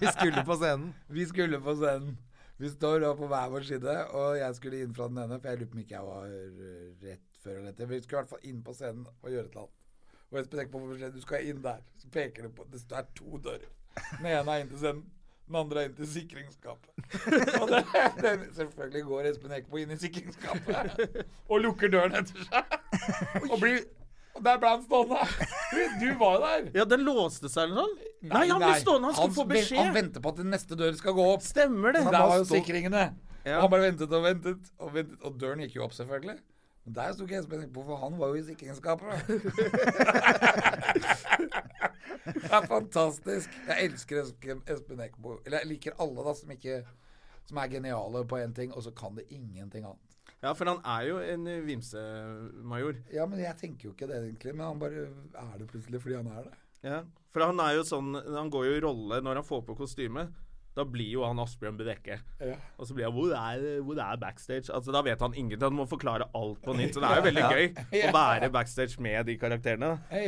Speaker 2: vi skulle på scenen.
Speaker 3: Vi skulle på scenen. Vi står da på hver vår side, og jeg skulle inn fra den ene, for jeg lurer på om ikke jeg var eh, rett før eller etter. Vi skulle i hvert fall inn på scenen og gjøre et eller annet. Og jeg tenker på forskjell, du skal inn der. Så peker du på Det er to dører. Den ene er inn til scenen. Den andre er inn til sikringsskapet. Og det, det, selvfølgelig går Espen Eckbo inn i sikringsskapet og lukker døren etter seg. Og, blir, og der ble han stående. Du, du var jo der.
Speaker 1: Ja, den låste seg eller noe sånt? Nei, han ble stående, han skulle få
Speaker 3: ven- Han
Speaker 1: beskjed.
Speaker 3: venter på at den neste dør skal gå opp.
Speaker 1: Stemmer det.
Speaker 3: Men
Speaker 1: Da
Speaker 3: der var jo
Speaker 1: stod-
Speaker 3: sikringene.
Speaker 1: Ja.
Speaker 3: Og han bare ventet og ventet og ventet. Og døren gikk jo opp, selvfølgelig. Men der sto ikke Espen Eckbo, for han var jo i sikringsskapet. det er fantastisk. Jeg elsker Espen- Espen Eckbo. Eller jeg liker alle da som ikke som er geniale på én ting, og så kan det ingenting annet.
Speaker 1: Ja, for han er jo en eh, vimsemajor.
Speaker 3: Ja, men jeg tenker jo ikke det egentlig, men han bare er det plutselig fordi han er det.
Speaker 1: Ja. For han er jo sånn Han går jo i rolle når han får på kostyme. Da blir jo han Asbjørn Bedekke. Og så blir han hvor er, hvor er backstage? Altså Da vet han ingenting. Han må forklare alt på nytt. Så det er jo veldig gøy å være backstage med de karakterene. da.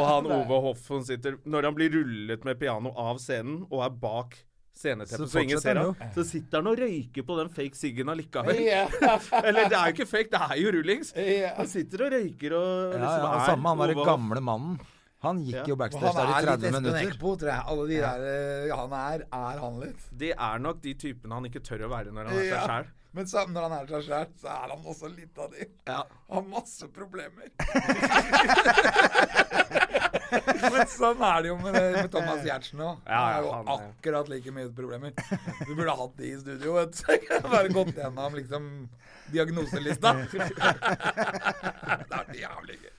Speaker 1: Og han Ove Hoff som sitter Når han blir rullet med piano av scenen og er bak sceneteppet,
Speaker 2: Så
Speaker 1: så, ingen
Speaker 2: fortsetter
Speaker 1: ser
Speaker 2: han
Speaker 1: ham. Så sitter han og røyker på den fake siggen allikevel. Eller det er jo ikke fake, det er jo rullings. Han sitter og røyker og
Speaker 2: Ja, ja,
Speaker 1: liksom
Speaker 2: og
Speaker 1: er
Speaker 2: samme han derre
Speaker 1: Ove Hoff.
Speaker 2: gamle mannen. Han gikk
Speaker 1: Ja.
Speaker 2: jo
Speaker 3: Og
Speaker 2: backstage
Speaker 3: Han
Speaker 2: der i
Speaker 3: er litt
Speaker 2: 30
Speaker 3: Espen
Speaker 2: minutter.
Speaker 3: Eckbo, tror jeg. Alle de der, eh, han er, er han litt.
Speaker 1: Det er nok de typene han ikke tør å være når han er
Speaker 3: Ja.
Speaker 1: seg sjæl.
Speaker 3: Men så, når han er seg sjæl, så er han også litt av de. Har masse problemer. Men sånn er det jo med, med Thomas Giertsen òg. Han
Speaker 1: Ja,
Speaker 3: har
Speaker 1: ja,
Speaker 3: jo
Speaker 1: han er-
Speaker 3: akkurat like mye problemer. Du burde hatt de i studio, vet du. Jeg har Bare gått gjennom liksom diagnoselista. Det er jævlig gøy.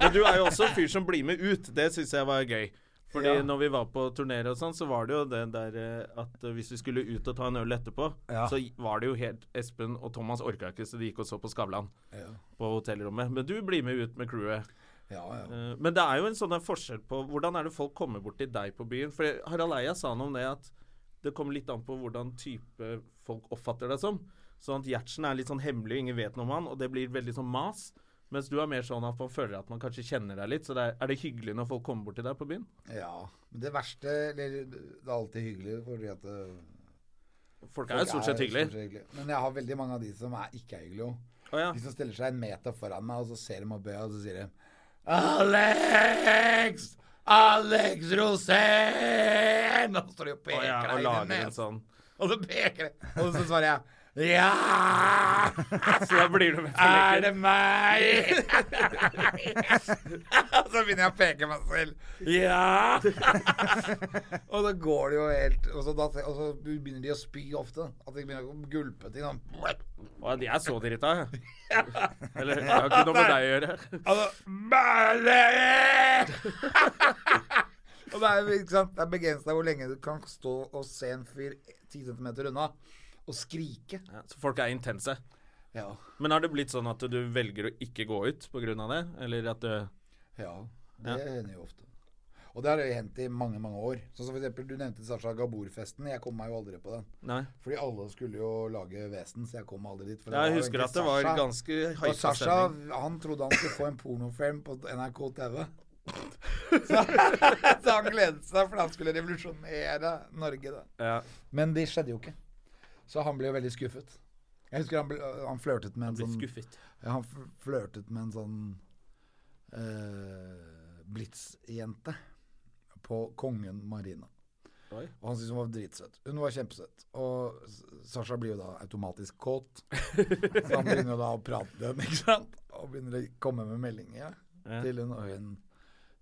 Speaker 1: Men du er jo også en fyr som blir med ut. Det syns jeg var gøy. Fordi
Speaker 3: Ja.
Speaker 1: når vi var på turneer og sånn, så var det jo det der eh, at eh, hvis vi skulle ut og ta en øl etterpå,
Speaker 2: Ja.
Speaker 1: så var det jo helt Espen og Thomas orka ikke, så de gikk og så på Skavlan
Speaker 3: Ja,
Speaker 1: på hotellrommet. Men du blir med ut med crewet.
Speaker 3: ja. ja.
Speaker 1: Eh, Men det er jo en sånn der forskjell på Hvordan er det folk kommer bort til deg på byen? For Harald Eia sa noe om det at det kommer litt an på hvordan type folk oppfatter deg som. Sånn at Gjertsen er litt sånn hemmelig, ingen vet noe om han, og det blir veldig sånn mas. Mens du er mer sånn at man føler at man kanskje kjenner deg litt. Så det er, er det hyggelig når folk kommer bort til deg på byen?
Speaker 3: ja. Men det verste eller, Det er alltid hyggelig fordi at det
Speaker 1: Folk er jo stort sett
Speaker 3: stort
Speaker 1: hyggelige.
Speaker 3: sett hyggelige. Men jeg har veldig mange av de som er, ikke er hyggelige òg.
Speaker 1: Å ja.
Speaker 3: De som stiller seg en meter foran meg, og så ser de opp i øya, og så sier de Alex! Alex Rosén! Og så står de og
Speaker 1: Å
Speaker 3: peker
Speaker 1: ja, og
Speaker 3: deg i
Speaker 1: lager en
Speaker 3: nesen.
Speaker 1: sånn.
Speaker 3: Og så peker de, og så svarer jeg Ja!
Speaker 1: Så da blir du med på
Speaker 3: Er det
Speaker 1: leken.
Speaker 3: meg? Og så begynner jeg å peke meg selv.
Speaker 1: Ja!
Speaker 3: Og så går det jo helt Og så, da, og så begynner de å spy ofte. At de begynner å gulpe ting. Sånn.
Speaker 1: Og jeg er så drita, jeg. Eller det har ikke noe med deg å gjøre.
Speaker 3: Altså Bare Og det er, jo, ikke sant, det er begrenset hvor lenge du kan stå og se en fyr 10 cm unna og skrike.
Speaker 1: Ja, så folk er intense.
Speaker 3: Ja.
Speaker 1: Men har det blitt sånn at du velger å ikke gå ut pga. det? Eller at du
Speaker 3: ja det hender jo ofte. Og det har jo hendt i mange, mange år. Sånn som for eksempel, Du nevnte Sasha Gabor-festen. Jeg kom meg jo aldri på den.
Speaker 1: Nei.
Speaker 3: Fordi alle skulle jo lage vesen, så jeg kom aldri dit. for det var
Speaker 1: Jeg
Speaker 3: jo
Speaker 1: husker
Speaker 3: egentlig
Speaker 1: at det var
Speaker 3: Sasha.
Speaker 1: ganske
Speaker 3: Og
Speaker 1: hypa
Speaker 3: Sasha
Speaker 1: stemning.
Speaker 3: han trodde han skulle få en pornofilm på NRK TV. Så, så han gledet seg, for han skulle revolusjonere Norge. da.
Speaker 1: Ja.
Speaker 3: Men det skjedde jo ikke. Så han ble jo veldig skuffet. Jeg husker han, ble, han flørtet med en
Speaker 1: Blitt
Speaker 3: sånn
Speaker 1: skuffet.
Speaker 3: ja, Han fl- flørtet med en sånn eh, Blitz-jente på Kongen Marina.
Speaker 1: Oi.
Speaker 3: Og han syntes hun var dritsøt. Hun var kjempesøt. Og S- Sasha blir jo da automatisk kåt. Så han begynner jo da å prate med henne, ikke sant? Og begynner å komme med meldinger ja,
Speaker 1: Ja.
Speaker 3: til hun. Og hun,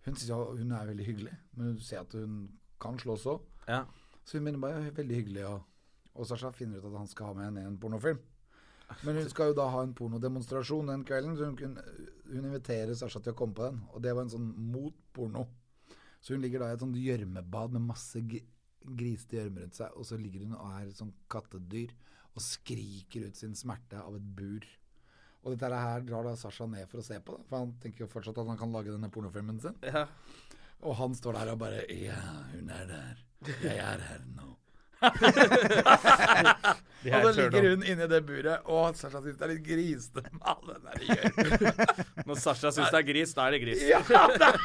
Speaker 3: hun syns jo hun er veldig hyggelig, men du ser at hun kan slåss òg.
Speaker 1: Ja.
Speaker 3: Så hun begynner bare «Ja, veldig hyggelig. Og, og Sasha finner ut at han skal ha med henne i en pornofilm. Men hun skal jo da ha en pornodemonstrasjon den kvelden, så hun, kunne, hun inviterer Sasha til å komme på den. Og det var en sånn mot porno. Så hun ligger da i et sånt gjørmebad med masse g- grisete gjørme rundt seg, og så ligger hun og er et sånt kattedyr og skriker ut sin smerte av et bur. Og dette her drar da Sasha ned for å se på, da, for han tenker jo fortsatt at han kan lage denne pornofilmen sin.
Speaker 1: Ja.
Speaker 3: Og han står der og bare Ja, hun er der. Jeg er her nå. og så ligger hun inni det buret, og Sasha syns det er litt grisete med all den der gjørmen.
Speaker 1: Når Sasha syns det er gris, da er det gris.
Speaker 3: Ja, det er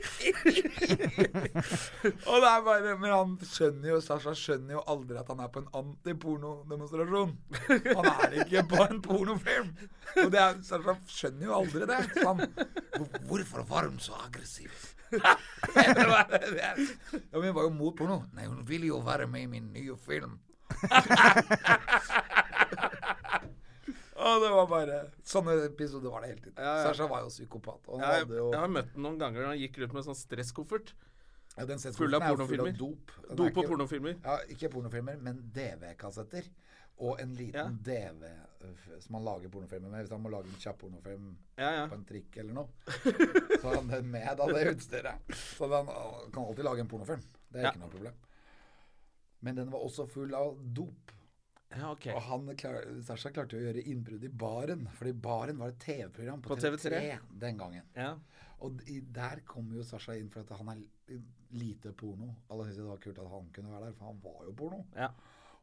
Speaker 3: gris. og det er bare Men han skjønner jo Sasha skjønner jo aldri at han er på en antipornodemonstrasjon. Han er ikke på en pornofilm. Og det er, Sasha skjønner jo aldri det. Så han "Hvor- Hvorfor var hun så aggressiv? ja, men hun var jo mot porno. Nei, hun vil jo være med i min nye film. Og det var bare Sånne episoder var det hele tiden. Sasha var jo psykopat. Og han
Speaker 1: Jeg,
Speaker 3: hadde jo
Speaker 1: jeg har møtt ham noen ganger når han gikk rundt med sånn stresskoffert.
Speaker 3: ja, den
Speaker 1: Full av
Speaker 3: sexboksen er jo
Speaker 1: pornofilmer.
Speaker 3: Full av dop. Den er
Speaker 1: Dop og
Speaker 3: ikke-
Speaker 1: pornofilmer.
Speaker 3: Ja, ikke pornofilmer, men DV-kassetter. Og en liten DV øh, som han lager pornofilmer med. Hvis han må lage en kjapp pornofilm
Speaker 1: Ja, ja.
Speaker 3: på en trikk eller noe, så har han det med da, det utstyret. Så han øh, kan alltid lage en pornofilm. Det er
Speaker 1: Ja.
Speaker 3: ikke noe problem. Men den var også full av dop.
Speaker 1: Ja, ok.
Speaker 3: Og han klar, Sasha klarte jo å gjøre innbrudd i baren, fordi baren var et TV-program på,
Speaker 1: På
Speaker 3: TV3
Speaker 1: TV3
Speaker 3: den gangen.
Speaker 1: Ja.
Speaker 3: Og d- i- der kom jo Sasha inn, for at han er l- lite porno. Alle syntes det var kult at han kunne være der, for han var jo porno.
Speaker 1: Ja.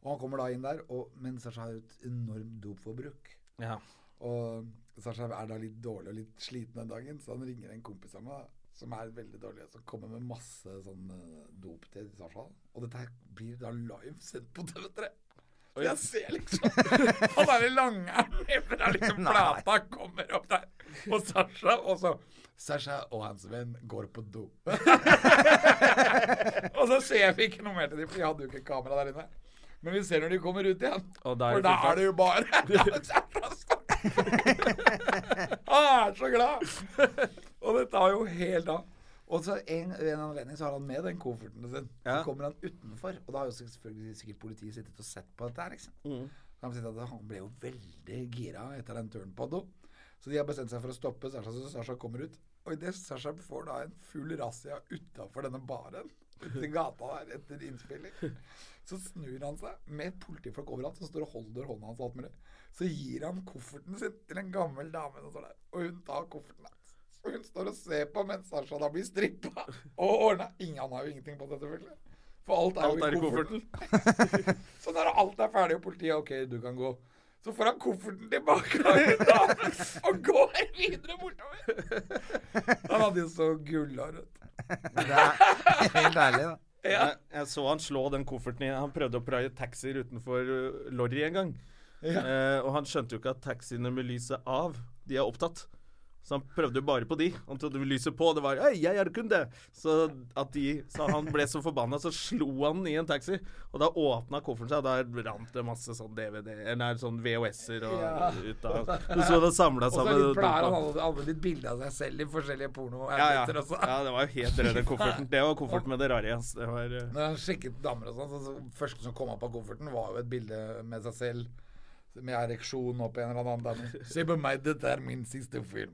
Speaker 3: Og han kommer da inn der, og, men Sasha har jo et enormt dopforbruk.
Speaker 1: ja.
Speaker 3: Og Sasha er da litt dårlig og litt sliten den dagen, så han ringer en kompis av meg som er veldig dårlige, som kommer med masse sånn eh, dop til Sasha. Og dette her blir da live sendt på TV3. Og jeg ser liksom Han derre langeren fra liksom plata kommer opp der, og Sasha, og så Sasha og hans venn går på do. og så ser vi ikke noe mer til dem, for de hadde jo ikke kamera der inne. Men vi ser når de kommer ut igjen.
Speaker 1: Og da er
Speaker 3: for
Speaker 1: det
Speaker 3: da
Speaker 1: full
Speaker 3: er det jo bare Han er så glad! Og det tar jo helt av. Og så en, ved en anledning så har han med den kofferten sin. Så kommer han utenfor, og da har jo selvfølgelig sikkert politiet sittet og sett på dette her, liksom. Så Han, sier at han ble jo veldig gira etter den turen på do. Så de har bestemt seg for å stoppe Sasha, så Sasha kommer ut. Og idet Sasha får da en full razzia utafor denne baren, til gata der etter innspilling, så snur han seg med politifolk overalt som står og holder hånda hans og alt mulig. Så gir han kofferten sin til en gammel dame som står der, og hun tar kofferten hans. Og hun står og ser på mens Sasha da blir strippa og ordna. Ingen han har jo ingenting på det, selvfølgelig. For alt er jo
Speaker 1: Alt er i
Speaker 3: kofferten. så når alt er ferdig og politiet OK, du kan gå. Så får han kofferten tilbake av hun damen og går videre bortover. Han hadde jo så gullhår. vet du.
Speaker 2: Det er helt ærlig, da.
Speaker 1: Jeg, jeg så han slå den kofferten i Han prøvde å praie taxier utenfor uh, Lorry en gang. Eh, og han skjønte jo ikke at taxiene med lyset av, de er opptatt. Så han prøvde jo bare på de. Han trodde lyset på, det var 'Hei, jeg er kunde'. Så at de Så han ble så forbanna, så slo han i en taxi. Og da åpna kofferten seg, og der rant det masse sånn DVD Eller sånn VHS-er og ut av Du så det samla
Speaker 3: Og så
Speaker 1: sammen.
Speaker 3: pleier han alle- alle litt bilde av seg selv i forskjellige sånn.
Speaker 1: ja, ja.
Speaker 3: pornoerbeter også.
Speaker 1: ja, det var jo helt rød, den kofferten. Det var kofferten med det rare. ass. Det var eh,
Speaker 3: Når han sjekket damer og sånn, så, så første som kom opp av kofferten, var jo et bilde med seg selv. Med ereksjon opp i en eller annen dame. Se på meg, dette er min siste film.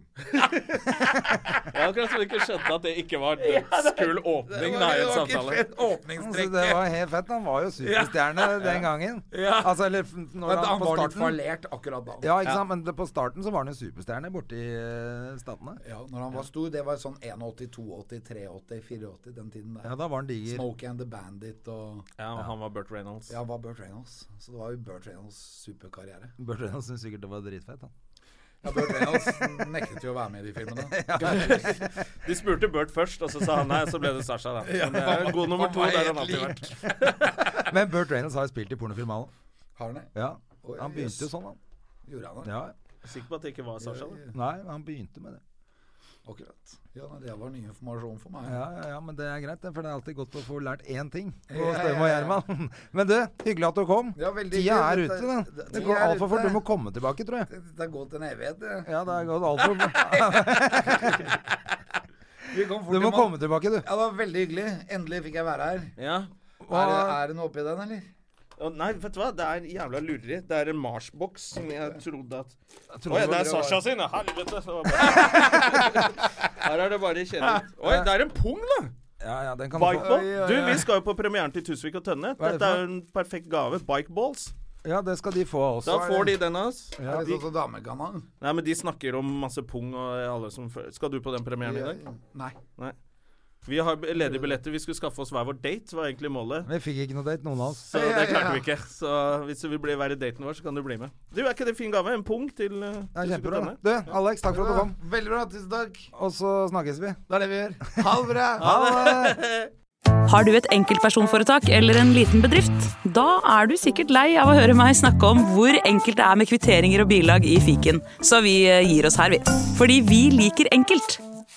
Speaker 1: Det er akkurat som de ikke skjønte at det ikke var dødskul åpning da, i en samtale.
Speaker 2: Så Altså,
Speaker 3: et
Speaker 2: det
Speaker 3: åpningstrekk.
Speaker 2: var helt fett. Han var jo superstjerne den gangen.
Speaker 1: Ja.
Speaker 2: Altså, eller f- når
Speaker 3: Men
Speaker 2: han,
Speaker 3: han
Speaker 2: på
Speaker 3: var litt
Speaker 2: starten
Speaker 3: fallert akkurat da.
Speaker 2: ja, ikke sant? Men det- på starten så var han jo superstjerne borti eh, statene.
Speaker 3: Ja, når han var stor, det var sånn 81, 82, 83, 84, den tiden der.
Speaker 2: Ja, da var han diger.
Speaker 3: Smokey and the Bandit og
Speaker 1: Ja, og han var Burt Reynolds.
Speaker 3: Ja, han var Burt Reynolds. Så det var jo Burt Reynolds' superkarriere.
Speaker 2: Burt Reynolds syntes sikkert det var dritfett. Han.
Speaker 3: Ja, Burt Reynolds nektet jo å være med i de filmene.
Speaker 1: De spurte Burt først, og så sa han nei, så ble det Sasha, da. Men det er jo god nummer to,
Speaker 3: Han var
Speaker 1: der har han
Speaker 3: helt
Speaker 1: alltid
Speaker 3: lik.
Speaker 1: vært.
Speaker 2: Men Burt Reynolds har jo spilt i pornofilm, han òg.
Speaker 3: Har han det?
Speaker 2: Ja.
Speaker 3: Oi,
Speaker 2: Han
Speaker 3: jøss.
Speaker 2: begynte jo sånn, han.
Speaker 3: Gjorde han det?
Speaker 2: Ja.
Speaker 1: Sikker på at det ikke var Sasha, da.
Speaker 2: Nei, han begynte med det.
Speaker 3: Akkurat. Ja, nei, det var ny informasjon for meg.
Speaker 2: Ja, ja, ja, men det er greit, det, for det er alltid godt å få lært én ting på Støm og Gjerman. Men du, hyggelig at du kom.
Speaker 3: Ja, veldig
Speaker 2: Tida er ute,
Speaker 3: hyggelig.
Speaker 2: den.
Speaker 3: Det-
Speaker 2: Det
Speaker 3: tida
Speaker 2: går
Speaker 3: er
Speaker 2: altfor fort.
Speaker 3: ute.
Speaker 2: Du må komme tilbake, tror jeg.
Speaker 3: Det det har gått en evighet, det.
Speaker 2: Ja, det er gått altfor fort.
Speaker 3: Vi kom fort
Speaker 2: Du
Speaker 3: i
Speaker 2: må
Speaker 3: mål.
Speaker 2: komme tilbake, du.
Speaker 3: Ja, det var veldig hyggelig. Endelig fikk jeg være her.
Speaker 1: Ja.
Speaker 3: Er, det- er det noe oppi den, eller?
Speaker 1: Og nei, vet du hva, det er jævla lureri. Det er en Mars-boks som jeg trodde at
Speaker 2: Jeg tror
Speaker 1: Oi, det
Speaker 2: det var-
Speaker 1: er Sasha sin, ja. Helvete. så var det bare- Her er det bare kjedelig. Oi, det er en pung, da!
Speaker 2: Ja, ja, den kan du få.
Speaker 1: Bikeball. Du, vi skal jo på premieren til Tusvik og Tønne.
Speaker 2: Hva er
Speaker 1: Dette
Speaker 2: det for
Speaker 1: er jo en perfekt gave. Bikeballs.
Speaker 2: Ja, det skal de få av oss.
Speaker 1: Da får de den av oss.
Speaker 3: Ja, er det
Speaker 1: de-
Speaker 3: sånn som damekanalen?
Speaker 1: Nei, men de snakker om masse pung og alle som fø- Skal du på den premieren i dag?
Speaker 3: Nei.
Speaker 1: Nei. Vi har b- ledige billetter. Vi skulle skaffe oss hver vår date, var egentlig målet.
Speaker 2: Vi fikk ikke noe date, noen av oss.
Speaker 1: Så det klarte vi ikke. Så hvis du vil bli være daten vår, så kan du bli med. Du, er ikke det fin gave? En pung til uh,
Speaker 2: Det er kjempebra. Du, Alex, takk for at du kom.
Speaker 3: Veldig bra. Tusen takk.
Speaker 2: Og så snakkes vi.
Speaker 3: Det er det vi gjør. Ha det bra.
Speaker 2: Ha det!
Speaker 4: Har du et enkeltpersonforetak eller en liten bedrift? Da er du sikkert lei av å høre meg snakke om hvor enkelt det er med kvitteringer og bilag i fiken, så vi eh, gir oss her, vi. Fordi vi liker enkelt.